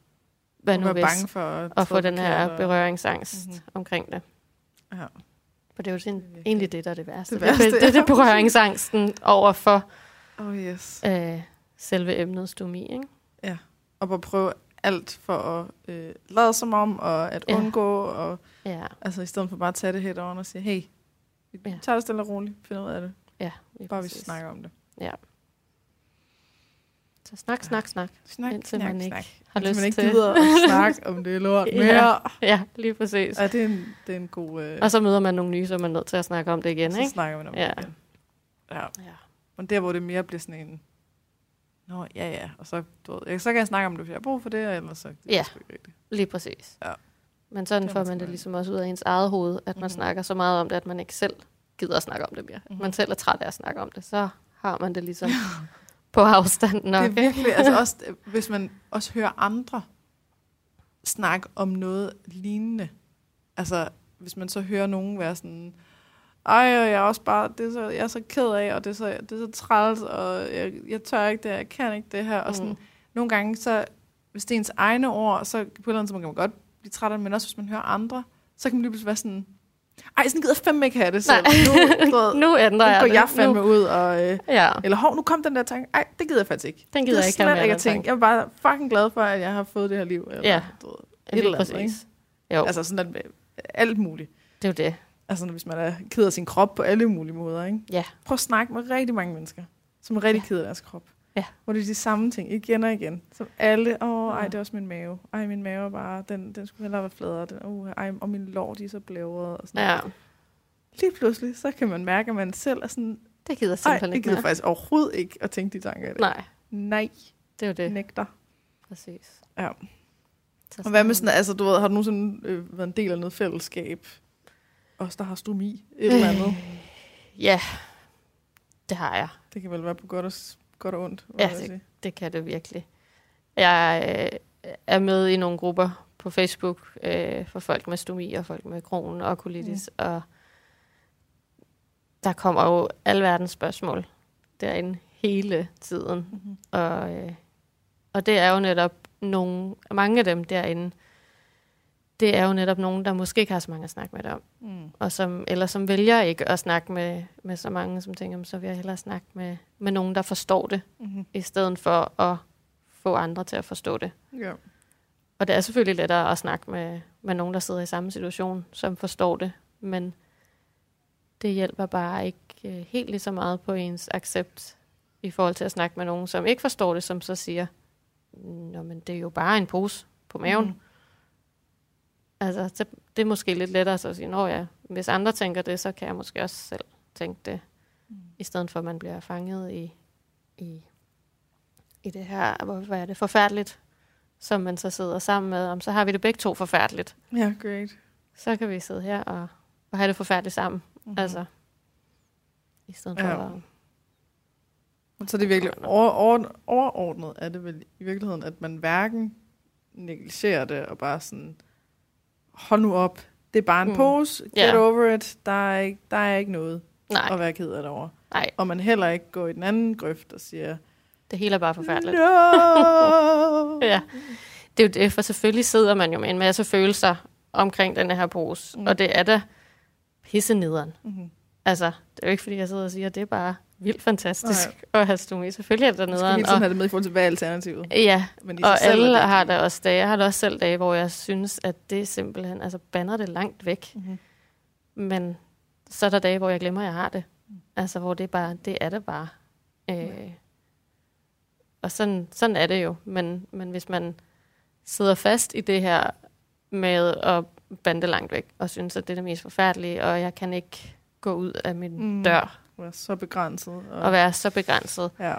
S2: hvad
S1: Og
S2: nu
S1: være
S2: hvis,
S1: bange for at,
S2: og få
S1: tråkke
S2: den her
S1: forkert, og-
S2: berøringsangst mm-hmm.
S1: Mhm.
S2: omkring det.
S1: Ja.
S2: For det
S1: Det
S2: er jo
S1: er
S2: sådan,
S1: virkelig-
S2: egentlig det, der er det værste.
S1: Det
S2: Det, værste,
S1: værste,
S2: det, det, det er
S1: ja.
S2: berøringsangsten over for
S1: Oh yes.
S2: øh, selve emnet stomi. Ikke?
S1: Og at prøve alt for at øh, lade som om, og at
S2: Ja.
S1: undgå, og
S2: Ja,
S1: altså i stedet for bare at tage det helt over og sige, hey, vi
S2: Ja.
S1: tager det stille og roligt, finder ud af det,
S2: ja. lige
S1: bare vi
S2: præcis.
S1: snakker om det.
S2: Så snak, snak, snak.
S1: Snak,
S2: Indtil man ikke Har
S1: Indtil
S2: lyst
S1: man ikke
S2: til.
S1: gider at snakke om det lort
S2: Ja.
S1: mere.
S2: Ja, lige præcis.
S1: Ja, det er en, det er en god... Øh,
S2: Og så møder man nogle nye, som man er nødt til at snakke om det igen.
S1: så
S2: Ikke?
S1: snakker man om
S2: Ja.
S1: det igen. Ja.
S2: Ja.
S1: Men der, hvor det mere bliver sådan en... Nå, ja, ja. Og så, du ved, ja, så kan jeg snakke om det, hvis jeg har brug for det, og ellers så... Det er
S2: Ja.
S1: sgu ikke rigtigt.
S2: Lige præcis.
S1: Ja.
S2: Men sådan
S1: Det er
S2: får
S1: man
S2: man det
S1: smart.
S2: ligesom også ud af ens eget hoved, at man
S1: Mhm.
S2: mm-hmm. snakker så meget om det, at man ikke selv gider at snakke om det mere. Mm-hmm.
S1: Mhm.
S2: Man selv er træt af at snakke om det, så har man det ligesom på afstand nok.
S1: Det er virkelig... altså også, hvis man også hører andre snakke om noget lignende. Altså, hvis man så hører nogen være sådan... Ej, og jeg er også bare, det er så, jeg er så ked af, og det er så, det er så træls, og jeg, jeg tør ikke det her, jeg kan ikke det her. Og sådan,
S2: Mm.
S1: nogle gange, så, hvis det er ens egne ord, så på et eller andet tidspunkt kan man godt blive træt af det, men også hvis man hører andre, så kan man lige pludselig være sådan, ej, sådan gider jeg fandme ikke have det, så
S2: Nej.
S1: nu, du ved, nu
S2: nu ændrer jeg
S1: går
S2: det.
S1: jeg
S2: Nu-
S1: fandme ud, og, øh,
S2: Ja,
S1: eller hov, nu kom den der tanke, ej, det gider jeg faktisk ikke.
S2: den gider jeg ikke
S1: slet
S2: have med
S1: ikke at
S2: den tanke.
S1: tænke. Jeg er bare fucking glad for, at jeg har fået det her liv. Eller,
S2: Ja.
S1: du ved,
S2: Ja, lige
S1: eller andet,
S2: præcis. Jo, altså,
S1: altså sådan, at, øh, alt muligt.
S2: det er jo det.
S1: Altså hvis man er ked af sin krop på alle mulige måder. Ikke?
S2: Ja.
S1: Prøv at snakke med rigtig mange mennesker, som er rigtig ja. ked af deres krop.
S2: Ja.
S1: Hvor det er de samme ting igen og igen. Som alle, åh, ej,
S2: Ja.
S1: det er også min mave. Ej, min mave er bare, den, den skulle hellere være fladere. Den, uh, ej, og min lår, de er så blævrede. Og sådan.
S2: Ja,
S1: Lige pludselig, så kan man mærke, at man selv er sådan,
S2: det gider jeg
S1: ej,
S2: simpelthen
S1: jeg
S2: ikke
S1: gider
S2: mere.
S1: faktisk overhovedet ikke at tænke de tanker i det.
S2: Nej,
S1: Nej,
S2: det er jo det.
S1: nægter.
S2: Præcis.
S1: Ja.
S2: Så
S1: Og hvad med sådan, altså, du ved, har du nogensinde øh, været en del af noget fællesskab? Også der har stomi, et eller andet.
S2: Øh. Ja, det har jeg.
S1: Det kan vel være på godt og, s- godt og ondt.
S2: Ja,
S1: vil jeg sige.
S2: Det kan det virkelig. Jeg øh, er med i nogle grupper på Facebook øh, for folk med stomi og folk med kronen og colitis, mm. og der kommer jo alverdens spørgsmål derinde hele tiden.
S1: Mhm.
S2: Og, øh, og det er jo netop nogle, mange af dem derinde, det er jo netop nogen, der måske ikke har så mange at snakke med det om.
S1: Mm.
S2: Og som, eller som vælger ikke at snakke med, med så mange, som tænker, "Jamen, så vil jeg hellere snakke med, med nogen, der forstår det,
S1: Mm-hmm.
S2: i stedet for at få andre til at forstå det.
S1: Ja.
S2: Og det er selvfølgelig lettere at snakke med, med nogen, der sidder i samme situation, som forstår det, men det hjælper bare ikke øh, helt lige så meget på ens accept i forhold til at snakke med nogen, som ikke forstår det, som så siger, Nå, men det er jo bare en pose på maven. Mm.
S1: Mhm.
S2: Altså, så det er måske lidt lettere så at sige, Nå ja, hvis andre tænker det, så kan jeg måske også selv tænke det,
S1: Mm.
S2: i stedet for at man bliver fanget i, i, i det her, hvor, hvad er det, forfærdeligt, som man så sidder sammen med, om så har vi det begge to forfærdeligt.
S1: Ja, great.
S2: Så kan vi sidde her og, og have det forfærdeligt sammen.
S1: Mm-hmm.
S2: Mm. Altså, i stedet for
S1: Ja.
S2: ja. at...
S1: Så det er virkelig over, over, overordnet, er det vel i virkeligheden, at man hverken negligerer det og bare sådan, hold nu op, det er bare en
S2: Mm.
S1: mm. pose, get
S2: Ja.
S1: over it, der er ikke, der er ikke noget
S2: Nej,
S1: at være ked af det over.
S2: nej,
S1: Og man heller ikke går i den anden grøft og siger,
S2: det hele er bare forfærdeligt.
S1: no!
S2: Ja. Det er jo det, for selvfølgelig sidder man jo med en masse følelser omkring den her pose, mm.
S1: Mm.
S2: og det er da pissenederen.
S1: Mm-hmm.
S2: Altså, det er jo ikke, fordi jeg sidder og siger, at det er bare vildt fantastisk nej. at have stomi. Selvfølgelig er det
S1: Man skal hele
S2: nederen.
S1: tiden
S2: Og,
S1: have det med i forhold til, hvad er alternativet?
S2: ja,
S1: Men i sig
S2: Og
S1: selv er
S2: alle
S1: det-
S2: har der også dage. Jeg har da også selv dage, hvor jeg synes, at det simpelthen altså, banner det langt væk.
S1: Mhm.
S2: Men så er der dage, hvor jeg glemmer, at jeg har det. Altså, hvor det, er bare, det er det bare.
S1: Ja.
S2: Øh, og sådan, sådan er det jo. Men, men hvis man sidder fast i det her med at bande langt væk, og synes, at det er det mest forfærdelige, og jeg kan ikke gå ud af min
S1: Mm.
S2: mm. dør
S1: Man er så begrænset. Og,
S2: og være så begrænset,
S1: ja.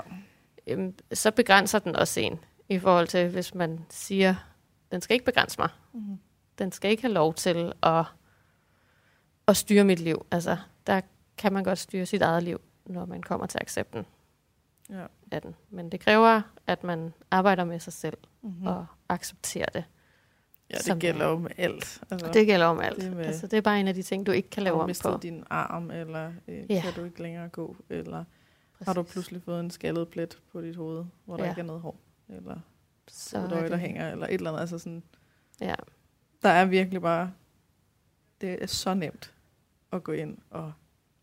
S2: øhm, så begrænser den også en i forhold til, hvis man siger, den skal ikke begrænse mig.
S1: Mm-hmm.
S2: Den skal ikke have lov til at, at styre mit liv. Altså, der kan man godt styre sit eget liv, når man kommer til accepten
S1: Ja.
S2: af den. Men det kræver, at man arbejder med sig selv
S1: Mm-hmm.
S2: mm. og accepterer det.
S1: ja, det
S2: som-
S1: gælder jo med alt. Altså,
S2: Og det gælder om alt.
S1: Det
S2: Det,
S1: med-
S2: altså, det er bare en af de ting, du ikke kan lave
S1: har du
S2: om
S1: mistet
S2: på.
S1: din arm, eller øh,
S2: Ja.
S1: kan du ikke længere gå, eller har du
S2: Præcis.
S1: pludselig fået en skaldet plet på dit hoved, hvor der
S2: Ja.
S1: ikke er noget hår, eller
S2: Så
S1: et
S2: er
S1: øje, der
S2: det-
S1: hænger, eller et eller andet. Altså sådan,
S2: Ja.
S1: der er virkelig bare, det er så nemt at gå ind og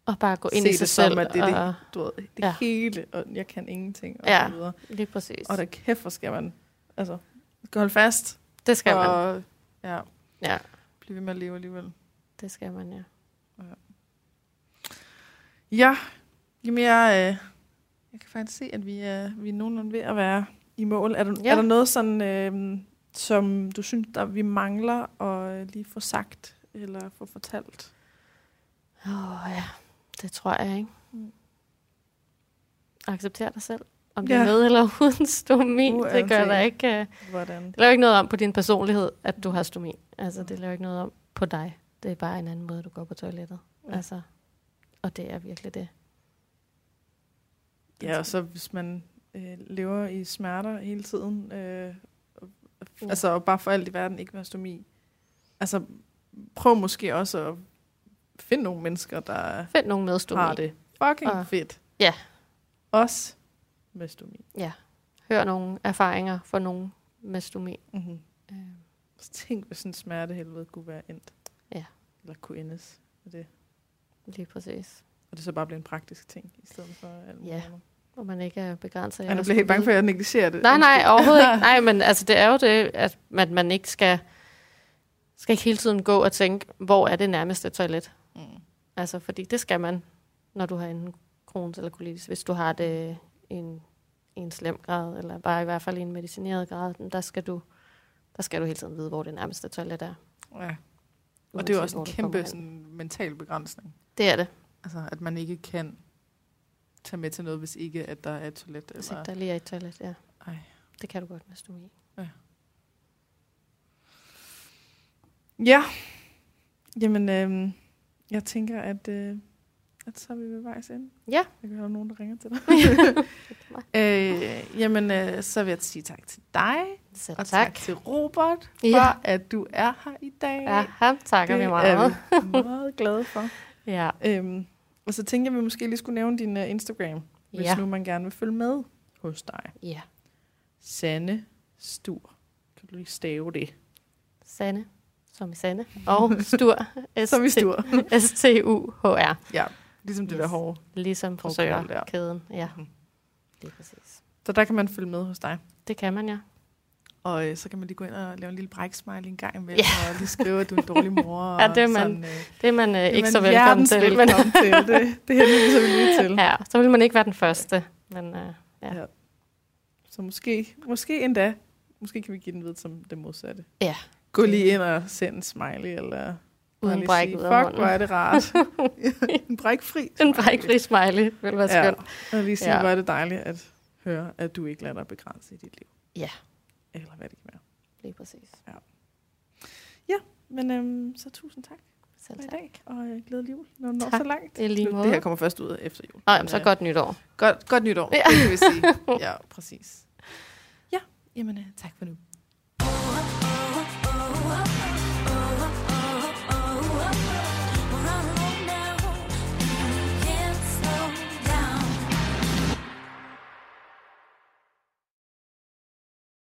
S2: Og bare gå ind
S1: Se
S2: i sig
S1: det som,
S2: selv.
S1: at det er det-
S2: og,
S1: du ved, det
S2: Ja.
S1: ja. hele, og jeg kan ingenting, og
S2: Ja.
S1: så videre.
S2: Lige præcis.
S1: Og der kæft, hvor skal man, altså, holde fast,
S2: det skal man.
S1: og ja,
S2: Ja,
S1: blive ved med at leve alligevel.
S2: det skal man, ja.
S1: Ja, jamen jeg, øh, jeg kan faktisk se, at vi er, vi er nogenlunde ved at være i mål. Er der,
S2: Ja.
S1: ja. er der noget sådan, øh, som du synes, der vi mangler at øh, lige få sagt eller få fortalt?
S2: Åh oh, ja, det tror jeg ikke.
S1: Mm.
S2: Accepter dig selv. Om det er
S1: Ja.
S2: med eller uden stomi,
S1: Uh,
S2: det gør
S1: altså.
S2: der ikke. øh,
S1: Hvordan?
S2: Det laver ikke noget om på din personlighed, at du har stomi. Altså, det laver ikke noget om på dig. Det er bare en anden måde, du går på toilettet.
S1: Ja.
S2: Altså, og det er virkelig det.
S1: Ja, og så hvis man øh, lever i smerter hele tiden, øh,
S2: Ja.
S1: ja. altså og bare for alt i verden ikke være stomi. Altså prøv måske også at finde nogle mennesker, der
S2: Find nogen med stomi.
S1: har det fucking
S2: Og-
S1: fedt.
S2: Ah. Ja.
S1: Også med stomi.
S2: Hør nogle erfaringer fra nogen med stomi.
S1: Mm-hmm.
S2: Øh,
S1: Så Tænk, hvis sådan en smertehelvede kunne være endt.
S2: Ja.
S1: Eller kunne endes med det.
S2: lige præcis.
S1: Og det så bare blev en praktisk ting, i stedet for alt muligt
S2: Ja.
S1: ja. andet.
S2: Hvor man ikke er begrænset. af
S1: Ej, nu
S2: at
S1: bliver jeg helt
S2: skulle
S1: bange for, at jeg negligerer det.
S2: Nej, nej, overhovedet ikke. Nej, men altså, det er jo det, at man, man ikke skal, skal ikke hele tiden gå og tænke, hvor er det nærmeste toilet?
S1: Mm.
S2: Altså, fordi det skal man, når du har en krons eller colitis. Hvis du har det i en, i en slem grad, eller bare i hvert fald i en medicineret grad, der skal du, der skal du hele tiden vide, hvor det nærmeste toilet er.
S1: Ja. Og det er jo
S2: uanset
S1: også
S2: hvor
S1: en
S2: du kommer
S1: kæmpe
S2: hen.
S1: sådan, mental begrænsning.
S2: Det er det,
S1: Altså, at man ikke kan tage med til noget, hvis ikke at der er et toilet.
S2: hvis ikke
S1: Eller...
S2: der lige er et toilet, ja.
S1: Ej.
S2: Det kan du godt med stomi.
S1: Ja. Jamen, øhm, jeg tænker, at, øh, at så er vi ved vejs ende.
S2: Ja.
S1: Jeg kan høre, der er nogen, der ringer til dig. øh, jamen, øh, så vil jeg sige tak til dig.
S2: Så
S1: Og tak.
S2: tak.
S1: tak til Robert for,
S2: Ja.
S1: ja. at du er her i dag.
S2: Ja, ham takker vi
S1: det
S2: meget.
S1: er vi meget glade for.
S2: Ja.
S1: Øhm, og så tænker jeg, at vi måske lige skulle nævne din uh, Instagram, hvis
S2: Ja.
S1: nu man gerne vil følge med hos dig.
S2: ja.
S1: Sanne Stur. Kan du lige stave det?
S2: Sanne, som i Sanne, og Stur,
S1: Mhm. Som i Stur.
S2: S-T-U-H-R,
S1: ja, ligesom det
S2: Yes.
S1: der hårde.
S2: ligesom
S1: der.
S2: frisørkæden. Ja,
S1: Mhm.
S2: det er præcis.
S1: Så der kan man følge med hos dig.
S2: Det kan man, ja.
S1: Og øh, så kan man lige gå ind og lave en lille bræksmile en gang imellem,
S2: Ja.
S1: ja. og lige skrive, at du er en dårlig mor.
S2: Ja, det er
S1: og
S2: man
S1: sådan, øh,
S2: Det er man øh,
S1: det er
S2: ikke
S1: man
S2: så velkommen
S1: hjertens
S2: til.
S1: velkommen til. Det, det henviser vi lige til.
S2: Men, ja, så vil man ikke være den første. Men øh, ja.
S1: Ja. Så måske, måske endda, måske kan vi give den ved som det modsatte.
S2: Ja.
S1: Gå lige ind og send en smiley, eller bare
S2: uden
S1: lige
S2: bræk
S1: sige,
S2: ud af
S1: Fuck, hvor er
S2: munden.
S1: det rart. en brækfri
S2: En brækfri smiley vil være
S1: Ja,
S2: skønt.
S1: og lige sige,
S2: Ja.
S1: ja. hvor er det dejligt at høre, at du ikke lader dig begrænse i dit liv.
S2: Ja.
S1: Eller hvad det kan være.
S2: Lige præcis.
S1: Men øhm, så tusind tak
S2: Selv
S1: for i
S2: tak.
S1: dag, og øh, glædelig jul, når du når
S2: Tak.
S1: så langt.
S2: I lige
S1: Nu-
S2: måde.
S1: det her kommer først ud efter jul.
S2: Nå,
S1: Men,
S2: jamen, så
S1: øh,
S2: godt nytår.
S1: Godt, godt nytår,
S2: Ja.
S1: ja. det vil sige. Ja, præcis. Ja, jamen øh, tak for nu.
S3: Oh, oh, oh, oh, oh.